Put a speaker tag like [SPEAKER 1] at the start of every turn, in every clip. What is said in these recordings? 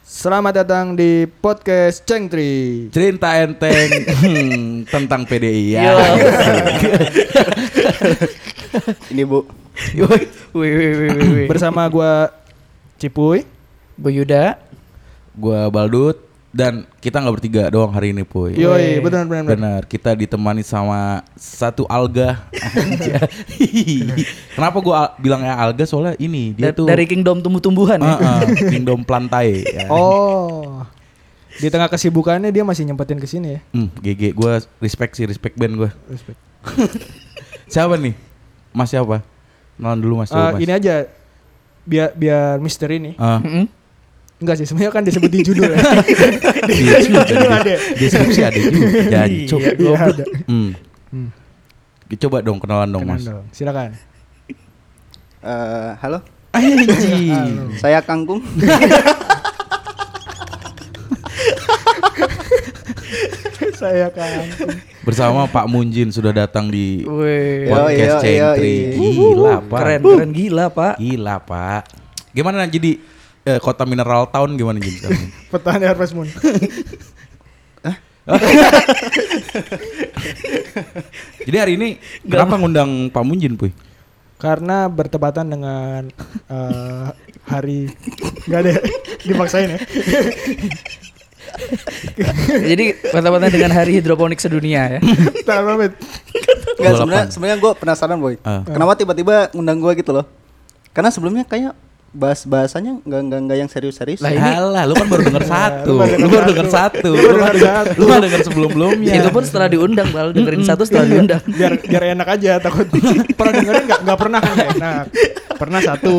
[SPEAKER 1] Selamat datang di podcast Cengtri.
[SPEAKER 2] cerita enteng hmm, tentang PDI ya.
[SPEAKER 3] Ini bu
[SPEAKER 4] Woi, woi, woi, woi, woi, woi.
[SPEAKER 1] Bersama gua Cipuy.
[SPEAKER 4] Bu Yuda,
[SPEAKER 2] Gua Baldut dan kita nggak bertiga doang hari ini puy.
[SPEAKER 1] Yoi, benar benar benar.
[SPEAKER 2] Benar, kita ditemani sama satu alga. Anjay. Kenapa gua al- bilangnya alga soalnya ini dia
[SPEAKER 4] da-
[SPEAKER 2] tuh
[SPEAKER 4] dari kingdom tumbuh-tumbuhan ya.
[SPEAKER 2] Ah, ah, kingdom plantae. ya.
[SPEAKER 1] Oh. Di tengah kesibukannya dia masih nyempetin ke sini ya.
[SPEAKER 2] Hmm, GG gua respect sih, respect band gua.
[SPEAKER 1] Respect.
[SPEAKER 2] Siapa nih? Mas siapa? Kenalan dulu Mas.
[SPEAKER 1] Eh,
[SPEAKER 2] coba, Mas.
[SPEAKER 1] ini aja biar biar misteri nih.
[SPEAKER 2] Ah,
[SPEAKER 4] Mm-mm.
[SPEAKER 1] Enggak sih, sebenarnya kan disebut di judul. ya.
[SPEAKER 2] iya juga, di- deskripsi ada juga. Jangan, cuk.
[SPEAKER 1] Iya, ada.
[SPEAKER 2] Hmm.
[SPEAKER 1] Hmm.
[SPEAKER 2] Coba dong kenalan dong
[SPEAKER 1] Kenan
[SPEAKER 2] mas.
[SPEAKER 1] dong. Silakan.
[SPEAKER 3] eh, Halo
[SPEAKER 2] Anjing.
[SPEAKER 3] Saya Kangkung
[SPEAKER 1] Saya kan.
[SPEAKER 2] Bersama Pak Munjin sudah datang di
[SPEAKER 4] Woi. Uh,
[SPEAKER 3] Yo,
[SPEAKER 2] podcast
[SPEAKER 3] yo, yo,
[SPEAKER 2] Cengtri.
[SPEAKER 3] yo.
[SPEAKER 2] Gila pak. Uh.
[SPEAKER 4] Keren, keren gila, Pak.
[SPEAKER 2] Gila pak. Gimana jadi eh, kota mineral town gimana Jin? sekarang?
[SPEAKER 1] Petani Harvest Moon.
[SPEAKER 2] jadi hari ini kenapa ngundang Pak Munjin puy?
[SPEAKER 1] Karena bertepatan dengan eh, hari enggak ada dipaksain ya.
[SPEAKER 4] Jadi pertama-tama dengan hari hidroponik sedunia ya.
[SPEAKER 1] Tahan banget.
[SPEAKER 3] Nggak,
[SPEAKER 2] 28.
[SPEAKER 3] sebenarnya sebenarnya gue penasaran boy
[SPEAKER 2] Ah.
[SPEAKER 3] Kenapa tiba-tiba ngundang gue gitu loh Karena sebelumnya kayak bahas bahasannya nggak nggak nggak yang serius-serius
[SPEAKER 4] Lah, ini-
[SPEAKER 2] Halah, lu kan baru denger satu,
[SPEAKER 1] baru denger
[SPEAKER 2] lu baru
[SPEAKER 1] satu.
[SPEAKER 2] denger satu,
[SPEAKER 1] Lu baru
[SPEAKER 2] lu kan
[SPEAKER 1] denger satu.
[SPEAKER 2] lu kan denger sebelum belumnya.
[SPEAKER 4] Itu pun setelah diundang, Bal. Dengerin satu setelah diundang.
[SPEAKER 1] biar biar enak aja takut pernah dengerin nggak nggak pernah kan nggak enak pernah satu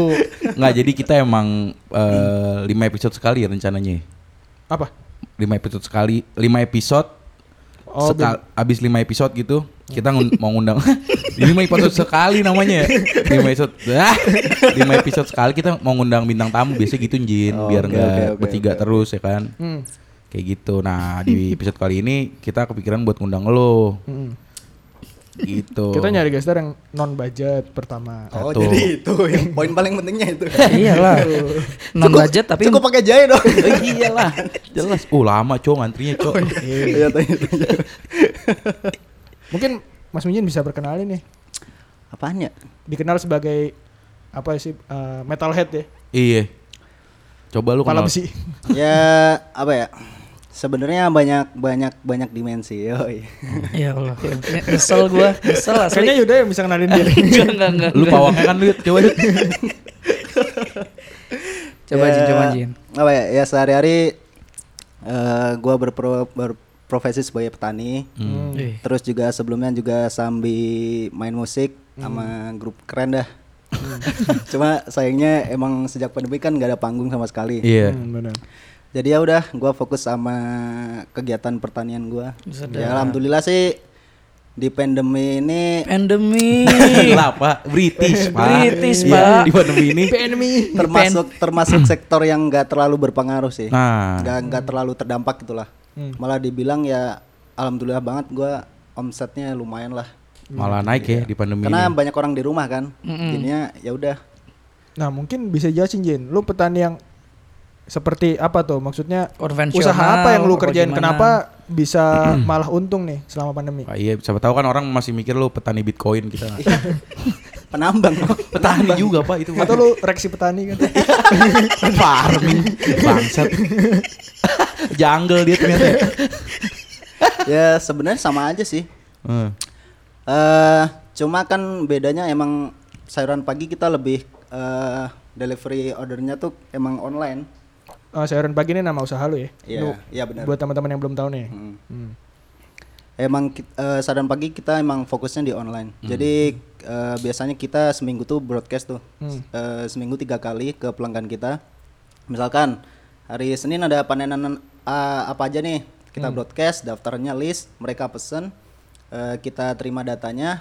[SPEAKER 2] nggak jadi kita emang eh, lima episode sekali ya rencananya.
[SPEAKER 1] apa
[SPEAKER 2] lima episode sekali, lima episode
[SPEAKER 1] Oh,
[SPEAKER 2] Sekal- abis lima episode gitu kita ngun- mau ngundang lima episode sekali namanya ya. lima episode ah, lima episode sekali kita mau ngundang bintang tamu biasanya gitu Jin
[SPEAKER 3] Oh,
[SPEAKER 2] biar
[SPEAKER 3] oke,
[SPEAKER 2] nggak
[SPEAKER 3] oke, oke,
[SPEAKER 2] bertiga
[SPEAKER 3] oke.
[SPEAKER 2] terus ya kan
[SPEAKER 1] hmm.
[SPEAKER 2] kayak gitu nah di episode kali ini kita kepikiran buat ngundang lo
[SPEAKER 1] hmm.
[SPEAKER 2] gitu
[SPEAKER 1] kita nyari gestar yang non budget pertama
[SPEAKER 3] Oh
[SPEAKER 2] Satu.
[SPEAKER 3] jadi itu yang poin paling pentingnya itu
[SPEAKER 4] Iyalah. Non budget tapi Oh,
[SPEAKER 3] Cukup pakai jahe dong
[SPEAKER 2] Eh, iyalah jelas oh lama cowok ngantrinya cowok
[SPEAKER 3] Iya tanya tanya.
[SPEAKER 1] mungkin Mas Minjin bisa perkenalin nih
[SPEAKER 3] Apaan ya?
[SPEAKER 1] dikenal sebagai apa sih eh, metalhead ya
[SPEAKER 2] iya coba lu
[SPEAKER 1] kepala
[SPEAKER 2] kenal-
[SPEAKER 1] besi
[SPEAKER 3] Ya apa ya? Sebenarnya banyak banyak banyak dimensi. Yoi.
[SPEAKER 4] Ya Allah. Nyesel gua, nyesel
[SPEAKER 1] kayaknya ya.
[SPEAKER 4] asli.
[SPEAKER 1] Yuda yang bisa kenalin diri
[SPEAKER 4] Enggak, enggak, enggak.
[SPEAKER 2] lu pawangnya kan lu coba Yud.
[SPEAKER 4] Coba
[SPEAKER 3] Ya,
[SPEAKER 4] Jin, coba Jin.
[SPEAKER 3] Apa ya? Ya sehari-hari eh gua berpro, berprofesi sebagai petani.
[SPEAKER 2] Hmm.
[SPEAKER 4] Eh,
[SPEAKER 3] Terus juga sebelumnya juga sambil main musik
[SPEAKER 2] Hmm.
[SPEAKER 3] sama grup keren dah. Cuma sayangnya emang sejak pandemi kan gak ada panggung sama sekali.
[SPEAKER 2] iya
[SPEAKER 1] Hmm, benar.
[SPEAKER 3] Jadi ya udah, gua fokus sama kegiatan pertanian gua.
[SPEAKER 4] Sedap.
[SPEAKER 3] Ya alhamdulillah sih di pandemi ini
[SPEAKER 4] Pandemi.
[SPEAKER 2] Gila pak, British pak
[SPEAKER 4] British,
[SPEAKER 2] Iya,
[SPEAKER 4] Pak.
[SPEAKER 2] Di pandemi ini
[SPEAKER 1] PNMI
[SPEAKER 3] termasuk termasuk sektor yang nggak terlalu berpengaruh sih
[SPEAKER 2] Nah.
[SPEAKER 3] nggak nggak terlalu terdampak gitulah malah dibilang ya alhamdulillah banget gua omsetnya lumayan lah
[SPEAKER 2] Malah naik ya di pandemi
[SPEAKER 3] karena
[SPEAKER 2] ini
[SPEAKER 3] banyak orang di rumah kan jadinya ya udah
[SPEAKER 1] nah mungkin bisa jelasin Jin lu petani yang seperti apa tuh maksudnya
[SPEAKER 4] Konvensional.
[SPEAKER 1] usaha apa yang lu
[SPEAKER 4] apa
[SPEAKER 1] kerjain
[SPEAKER 4] gimana?
[SPEAKER 1] kenapa bisa malah untung nih selama pandemi
[SPEAKER 2] Pak, Iya siapa tahu kan orang masih mikir lu petani bitcoin kita
[SPEAKER 3] penambang
[SPEAKER 2] Petani juga pak itu
[SPEAKER 1] Atau lu reaksi petani kan?
[SPEAKER 2] farming Bangsat Jungle dia ternyata ya.
[SPEAKER 3] ya sebenarnya sama aja sih
[SPEAKER 2] Eh,
[SPEAKER 3] eh cuma kan bedanya emang sayuran pagi kita lebih eh, delivery ordernya tuh emang online
[SPEAKER 1] Oh, sayuran pagi ini nama usaha lu ya?
[SPEAKER 3] Iya,
[SPEAKER 1] Lu,
[SPEAKER 3] iya benar.
[SPEAKER 1] Buat teman-teman yang belum tahu nih.
[SPEAKER 3] Hmm.
[SPEAKER 1] Hmm.
[SPEAKER 3] Emang ki- eh, saran pagi kita emang fokusnya di online. Jadi eh, biasanya kita seminggu tuh broadcast tuh Eh, seminggu tiga kali ke pelanggan kita. Misalkan hari Senin ada panenan eh, apa aja nih kita broadcast, daftarnya list, mereka pesen, eh, kita terima datanya.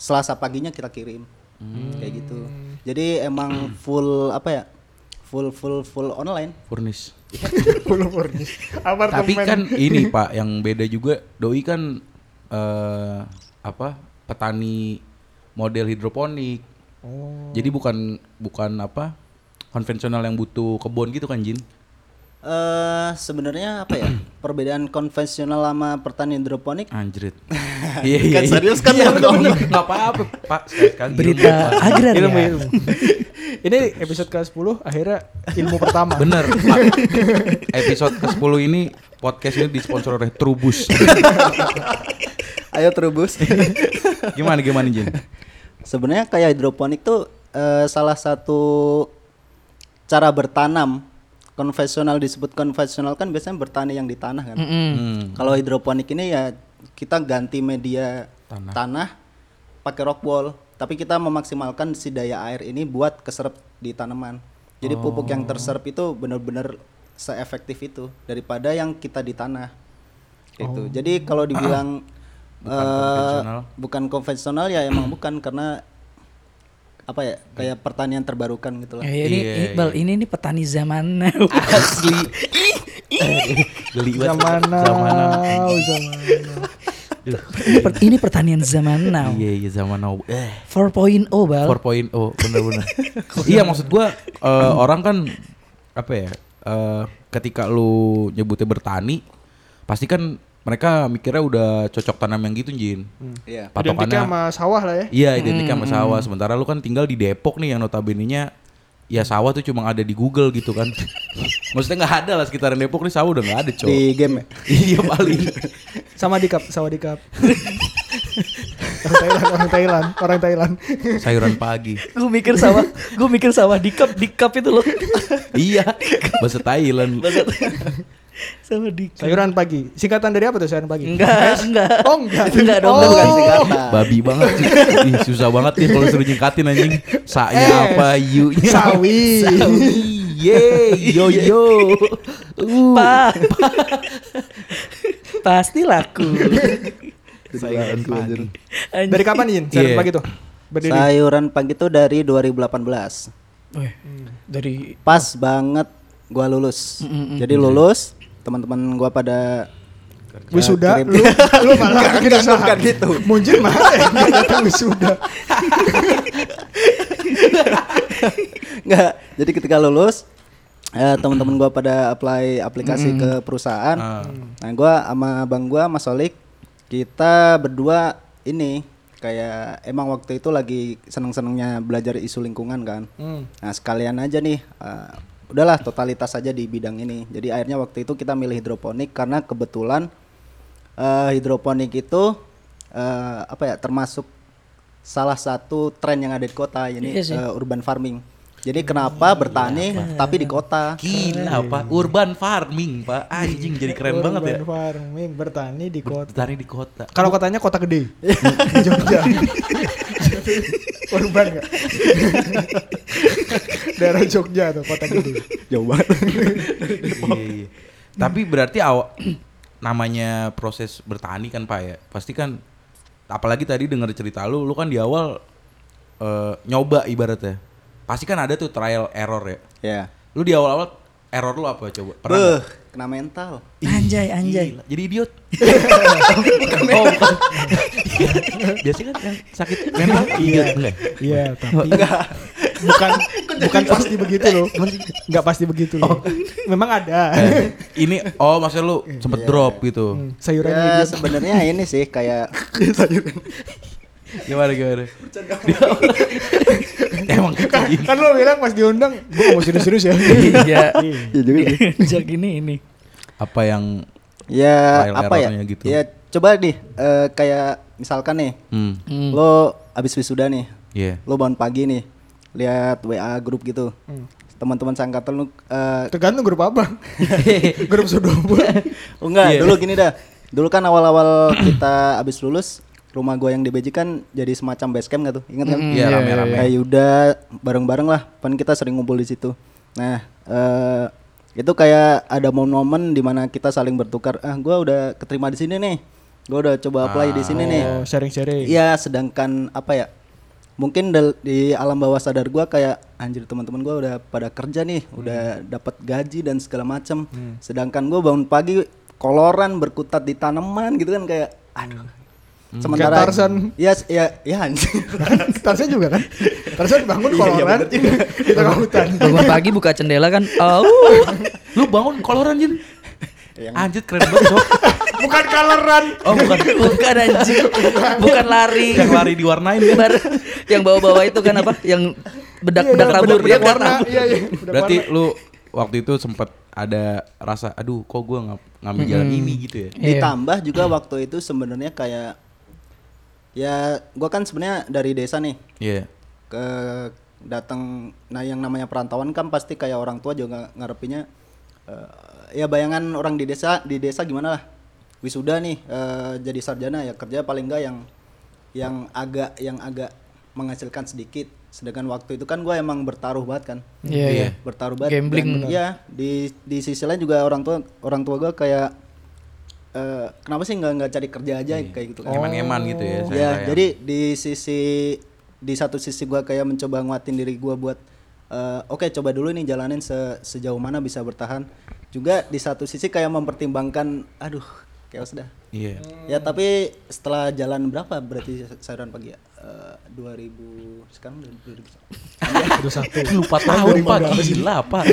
[SPEAKER 3] Selasa paginya kita kirim kayak gitu. Jadi emang full apa ya? Full full full online.
[SPEAKER 2] Furnish Tapi
[SPEAKER 1] Apartemen.
[SPEAKER 2] kan ini pak Yang beda juga Doi kan eh Apa Petani Model hidroponik
[SPEAKER 1] Oh.
[SPEAKER 2] Jadi bukan Bukan apa Konvensional yang butuh kebun gitu kan Jin
[SPEAKER 3] Eh sebenarnya apa ya perbedaan konvensional sama pertanian hidroponik
[SPEAKER 2] Anjrit. Iya iya.
[SPEAKER 3] Kan serius kan
[SPEAKER 2] Iya,
[SPEAKER 3] ya,
[SPEAKER 2] bener,
[SPEAKER 3] Om?
[SPEAKER 2] bener. Nggak apa-apa, Pak. Sekali-sekali
[SPEAKER 4] Berita
[SPEAKER 2] ilmu, Pak.
[SPEAKER 4] agraria.
[SPEAKER 1] Hmm. Ilmu, ilmu. Ini episode ke-10 akhirnya ilmu pertama.
[SPEAKER 2] Bener, Pak. Episode ke-10 ini podcast ini disponsori oleh Trubus.
[SPEAKER 3] ayo terubus
[SPEAKER 2] gimana gimana Jin?
[SPEAKER 3] sebenarnya kayak hidroponik tuh eh, salah satu cara bertanam konvensional disebut konvensional kan biasanya bertani yang di tanah kan
[SPEAKER 2] Hmm.
[SPEAKER 3] kalau hidroponik ini ya kita ganti media
[SPEAKER 2] Nah.
[SPEAKER 3] tanah, pakai rock wall tapi kita memaksimalkan si daya air ini buat keserap di tanaman jadi
[SPEAKER 2] Oh.
[SPEAKER 3] pupuk yang terserap itu benar-benar seefektif itu daripada yang kita di tanah gitu jadi kalau dibilang bukan,
[SPEAKER 2] Oh. konvensional.
[SPEAKER 3] bukan konvensional ya emang bukan karena apa ya kayak pertanian terbarukan gitu lah
[SPEAKER 4] Ya, ya, ini
[SPEAKER 2] Iya,
[SPEAKER 4] Iqbal, ini nih petani zaman now.
[SPEAKER 2] Asli. Geli banget.
[SPEAKER 1] Zaman now,
[SPEAKER 2] Zaman now.
[SPEAKER 1] zaman now.
[SPEAKER 2] Duh.
[SPEAKER 4] ini, per- ini pertanian zaman now.
[SPEAKER 2] Iya iya zaman now. Eh.
[SPEAKER 4] 4.0 bal.
[SPEAKER 2] 4.0 bener-bener iya maksud gua eh, orang kan apa ya eh, ketika lu nyebutnya bertani pasti kan mereka mikirnya udah cocok tanam yang gitu Jin
[SPEAKER 1] Hmm. Identiknya
[SPEAKER 3] Iya.
[SPEAKER 2] patokannya
[SPEAKER 1] sama sawah lah ya.
[SPEAKER 2] iya identiknya sama sawah sementara lu kan tinggal di Depok nih yang notabene-nya ya sawah tuh cuma ada di Google gitu kan maksudnya nggak ada lah sekitaran Depok nih sawah udah nggak ada cowok
[SPEAKER 3] di game ya
[SPEAKER 2] iya paling
[SPEAKER 1] Sama dikap, sama dikap. orang Thailand, orang Thailand, orang Thailand.
[SPEAKER 2] sayuran pagi
[SPEAKER 4] Gue mikir sawah, gue mikir sawah di cup, di cup itu loh.
[SPEAKER 2] iya bahasa Thailand
[SPEAKER 4] Sawah di cup.
[SPEAKER 1] Sayuran pagi. Singkatan dari apa tuh sayuran pagi?
[SPEAKER 4] Enggak, enggak.
[SPEAKER 1] Oh, enggak.
[SPEAKER 4] Enggak dong,
[SPEAKER 1] Oh.
[SPEAKER 4] bukan
[SPEAKER 3] bukan singkatan
[SPEAKER 2] Babi banget sih. Ih, susah banget nih kalau suruh nyingkatin anjing. Sa-nya
[SPEAKER 1] Eh,
[SPEAKER 2] apa you-nya?
[SPEAKER 1] sawi.
[SPEAKER 2] Sawi. Yeay, yo yo. Uh.
[SPEAKER 4] Pa. Pasti laku.
[SPEAKER 2] Sayuran pagi.
[SPEAKER 4] Anjing.
[SPEAKER 1] Dari kapan Jin? Sayuran
[SPEAKER 2] Iya.
[SPEAKER 1] pagi tuh. Berdiri.
[SPEAKER 3] sayuran pagi itu dari 2018
[SPEAKER 4] Weh, dari
[SPEAKER 3] pas banget gua lulus. Jadi lulus, teman-teman gua pada
[SPEAKER 1] Wisuda,
[SPEAKER 3] kirim-
[SPEAKER 1] lu, lu malah bikin usaha.
[SPEAKER 3] bukan gitu.
[SPEAKER 1] Muncul malah yang nggak datang wisuda.
[SPEAKER 3] Enggak. Jadi ketika lulus eh, teman-teman gua pada apply aplikasi ke perusahaan.
[SPEAKER 2] Ah.
[SPEAKER 1] Ah.
[SPEAKER 3] Nah, gua sama Bang gua Mas Solik kita berdua ini kayak emang waktu itu lagi seneng-senengnya belajar isu lingkungan kan.
[SPEAKER 2] Hmm,
[SPEAKER 3] Nah, sekalian aja nih eh, udahlah totalitas aja di bidang ini. Jadi akhirnya waktu itu kita milih hidroponik karena kebetulan eh, hidroponik itu eh, apa ya termasuk salah satu tren yang ada di kota ini
[SPEAKER 4] Iya sih. Hmm, iya, kan.
[SPEAKER 3] eh, urban farming. Jadi kenapa bertani tapi di kota?
[SPEAKER 2] Gila, Pak. Urban farming, Pak. Anjing jadi keren banget ya.
[SPEAKER 1] Urban farming, bertani di kota.
[SPEAKER 2] Bertani di kota.
[SPEAKER 1] Kalau kotanya kota gede. Jogja. Urban enggak? Daerah Jogja tuh kota gede.
[SPEAKER 3] Jauh banget.
[SPEAKER 2] Iya, iya. Tapi berarti awal namanya proses bertani kan Pak ya. Pasti kan apalagi tadi dengar cerita lu, lu kan di awal eh, nyoba ibaratnya. Pasti kan ada tuh trial error ya.
[SPEAKER 3] ya.
[SPEAKER 2] Lu di awal-awal error lu apa coba? Pernah nggak?
[SPEAKER 3] Beuh, kena mental.
[SPEAKER 4] anjay anjay.
[SPEAKER 2] Gila, jadi idiot. oh, bukan. Biasanya kan yang sakit mental idiot enggak?
[SPEAKER 1] Iya, tapi bukan bukan pasti
[SPEAKER 3] gitu?
[SPEAKER 1] begitu loh. Enggak pasti begitu
[SPEAKER 3] Oh.
[SPEAKER 1] loh. Memang ada.
[SPEAKER 2] Eh, ini oh maksudnya lu
[SPEAKER 3] Iya.
[SPEAKER 2] sempet drop gitu.
[SPEAKER 1] Hmm, Sayuran
[SPEAKER 3] Ya,
[SPEAKER 1] idiot.
[SPEAKER 3] sebenarnya ini sih kayak
[SPEAKER 2] Gimana gimana? Emang gitu.
[SPEAKER 1] Kan lo bilang pas diundang, gua nggak mau serius-serius ya.
[SPEAKER 4] Iya.
[SPEAKER 3] ya juga sih.
[SPEAKER 4] Jak ini ini.
[SPEAKER 2] Apa yang
[SPEAKER 3] Ya
[SPEAKER 2] Trial
[SPEAKER 3] apa ya?
[SPEAKER 2] errornya gitu.
[SPEAKER 3] Ya coba nih eh, kayak misalkan nih
[SPEAKER 2] hmm,
[SPEAKER 3] lo abis wisuda nih,
[SPEAKER 2] iya.
[SPEAKER 3] lo bangun pagi nih lihat WA grup gitu. Teman-teman sangkatan lu eh,
[SPEAKER 1] Tergantung grup apa. grup Sudobo.
[SPEAKER 3] Oh enggak,
[SPEAKER 2] Iya.
[SPEAKER 3] dulu gini dah. Dulu kan awal-awal kita abis lulus, rumah gua yang di BJ kan jadi semacam base camp gak tuh? Ingat kan?
[SPEAKER 2] Iya, rame-rame.
[SPEAKER 3] Kayak Yuda bareng-bareng lah, kan kita sering ngumpul di situ. Nah, eh itu kayak ada momen-momen dimana kita saling bertukar. Ah, gua udah keterima di sini nih. Gua udah coba apply di sini nih.
[SPEAKER 1] Oh, sharing-sharing.
[SPEAKER 3] Iya, sedangkan apa ya? Mungkin dal- di alam bawah sadar gua kayak anjir teman-teman gua udah pada kerja nih, udah dapat gaji dan segala macem Sedangkan gua bangun pagi koloran berkutat di tanaman gitu kan kayak aduh. Sementara
[SPEAKER 1] Kayak Tarzan.
[SPEAKER 3] Iya, s- iya, iya anjing.
[SPEAKER 1] Tarzan juga kan? Tarzan bangun koloran, kita ke hutan.
[SPEAKER 4] Bangun pagi buka jendela kan. Au.
[SPEAKER 2] Lu bangun koloran Jin.
[SPEAKER 3] Yang-
[SPEAKER 2] Anjir keren banget, Sob.
[SPEAKER 1] Bukan koloran.
[SPEAKER 4] Oh bukan bukan anjing. Bukan lari.
[SPEAKER 2] Yang lari diwarnain ya.
[SPEAKER 4] Bar- yang bawa-bawa itu kan apa? Yang bedak-bedak
[SPEAKER 1] Iya, iya,
[SPEAKER 4] rabur dia
[SPEAKER 1] bedak-bedak
[SPEAKER 4] bedak
[SPEAKER 1] warna.
[SPEAKER 4] rabur.
[SPEAKER 1] Iya, iya. bedak
[SPEAKER 2] Berarti
[SPEAKER 1] warna.
[SPEAKER 2] lu waktu itu sempat ada rasa aduh kok gua nggak ngambil jalan ini gitu ya.
[SPEAKER 4] Iya.
[SPEAKER 3] Ditambah juga waktu itu sebenarnya kayak ya gua kan sebenarnya dari desa nih
[SPEAKER 2] Iya.
[SPEAKER 3] ke datang nah yang namanya perantauan kan pasti kayak orang tua juga ngarepinya eh, ya bayangan orang di desa di desa gimana lah wisuda nih eh, jadi sarjana ya kerja paling enggak yang yang agak yang agak menghasilkan sedikit sedangkan waktu itu kan gue emang bertaruh banget kan
[SPEAKER 4] Iya, iya.
[SPEAKER 3] bertaruh banget
[SPEAKER 4] Gambling.
[SPEAKER 3] Dan, ya di di sisi lain juga orang tua orang tua gue kayak eh, kenapa sih nggak nggak cari kerja aja kayak gitu kan
[SPEAKER 2] Ngeman-ngeman gitu ya.
[SPEAKER 3] ya
[SPEAKER 2] sayang-sayang.
[SPEAKER 3] jadi di sisi di satu sisi gua kayak mencoba nguatin diri gua buat eh, oke coba dulu nih jalanin se- sejauh mana bisa bertahan juga di satu sisi kayak mempertimbangkan aduh chaos dah
[SPEAKER 2] Iya.
[SPEAKER 3] ya tapi setelah jalan berapa berarti sayuran pagi ya Eh, 2000 sekarang udah 2000.
[SPEAKER 1] Aduh, satu.
[SPEAKER 2] Lupa tahun Pak gila Pak.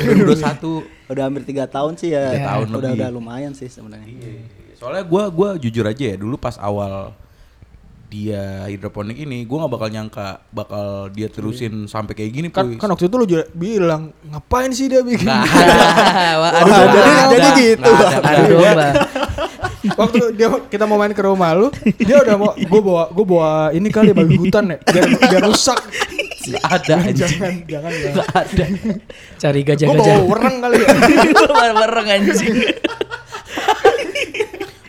[SPEAKER 2] 2021
[SPEAKER 3] udah hampir tiga tahun sih ya
[SPEAKER 2] Tiga tahun
[SPEAKER 3] udah
[SPEAKER 2] lebih. Iya.
[SPEAKER 3] udah lumayan sih sebenarnya
[SPEAKER 2] Soalnya gua gua jujur aja ya dulu pas awal dia hidroponik ini gua nggak bakal nyangka bakal dia terusin sampai kayak gini
[SPEAKER 1] Kan,
[SPEAKER 2] Puy.
[SPEAKER 1] kan waktu itu lu juga bilang ngapain sih dia bikin?
[SPEAKER 2] Nah,
[SPEAKER 4] Wah, adu
[SPEAKER 3] Wah,
[SPEAKER 4] domba.
[SPEAKER 3] jadi- jadi gitu.
[SPEAKER 2] nggak ada,
[SPEAKER 4] Adu
[SPEAKER 2] nggak ada.
[SPEAKER 4] domba.
[SPEAKER 1] waktu dia kita mau main ke rumah lu, dia udah mau gue bawa gue bawa ini kali babi hutan ya biar, biar rusak.
[SPEAKER 2] Nggak ada anjing.
[SPEAKER 1] jangan jangan jangan.
[SPEAKER 2] Nggak ada.
[SPEAKER 4] Cari
[SPEAKER 1] Gue bawa
[SPEAKER 4] gajah-gajah.
[SPEAKER 1] wereng kali ya.
[SPEAKER 4] Bareng anjing.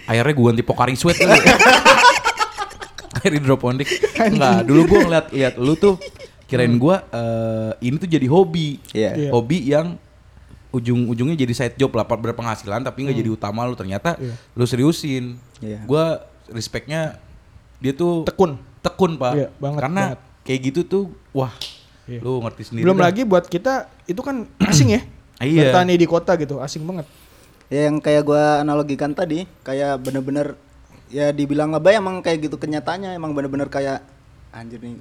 [SPEAKER 2] Akhirnya gua ganti Pocari Sweat kali ya. Air hidroponik. Enggak, dulu gua ngeliat lihat lu tuh kirain gua eh, ini tuh jadi hobi.
[SPEAKER 3] Iya.
[SPEAKER 1] Iya.
[SPEAKER 2] Hobi yang ujung-ujungnya jadi side job lah berpenghasilan tapi nggak jadi utama lu ternyata
[SPEAKER 1] Iya.
[SPEAKER 2] lu seriusin.
[SPEAKER 3] Iya.
[SPEAKER 2] Gua respectnya dia tuh
[SPEAKER 1] Tekun.
[SPEAKER 2] tekun pak
[SPEAKER 1] Iya, banget,
[SPEAKER 2] karena
[SPEAKER 1] banget.
[SPEAKER 2] kayak gitu tuh wah
[SPEAKER 1] Iya.
[SPEAKER 2] lu ngerti sendiri
[SPEAKER 1] Belum
[SPEAKER 2] dah.
[SPEAKER 1] lagi buat kita itu kan asing ya.
[SPEAKER 2] Iya.
[SPEAKER 1] Bertani di kota gitu asing banget.
[SPEAKER 3] Ya, yang kayak gua analogikan tadi kayak bener-bener ya dibilang lebay emang kayak gitu kenyataannya emang bener-bener kayak anjir nih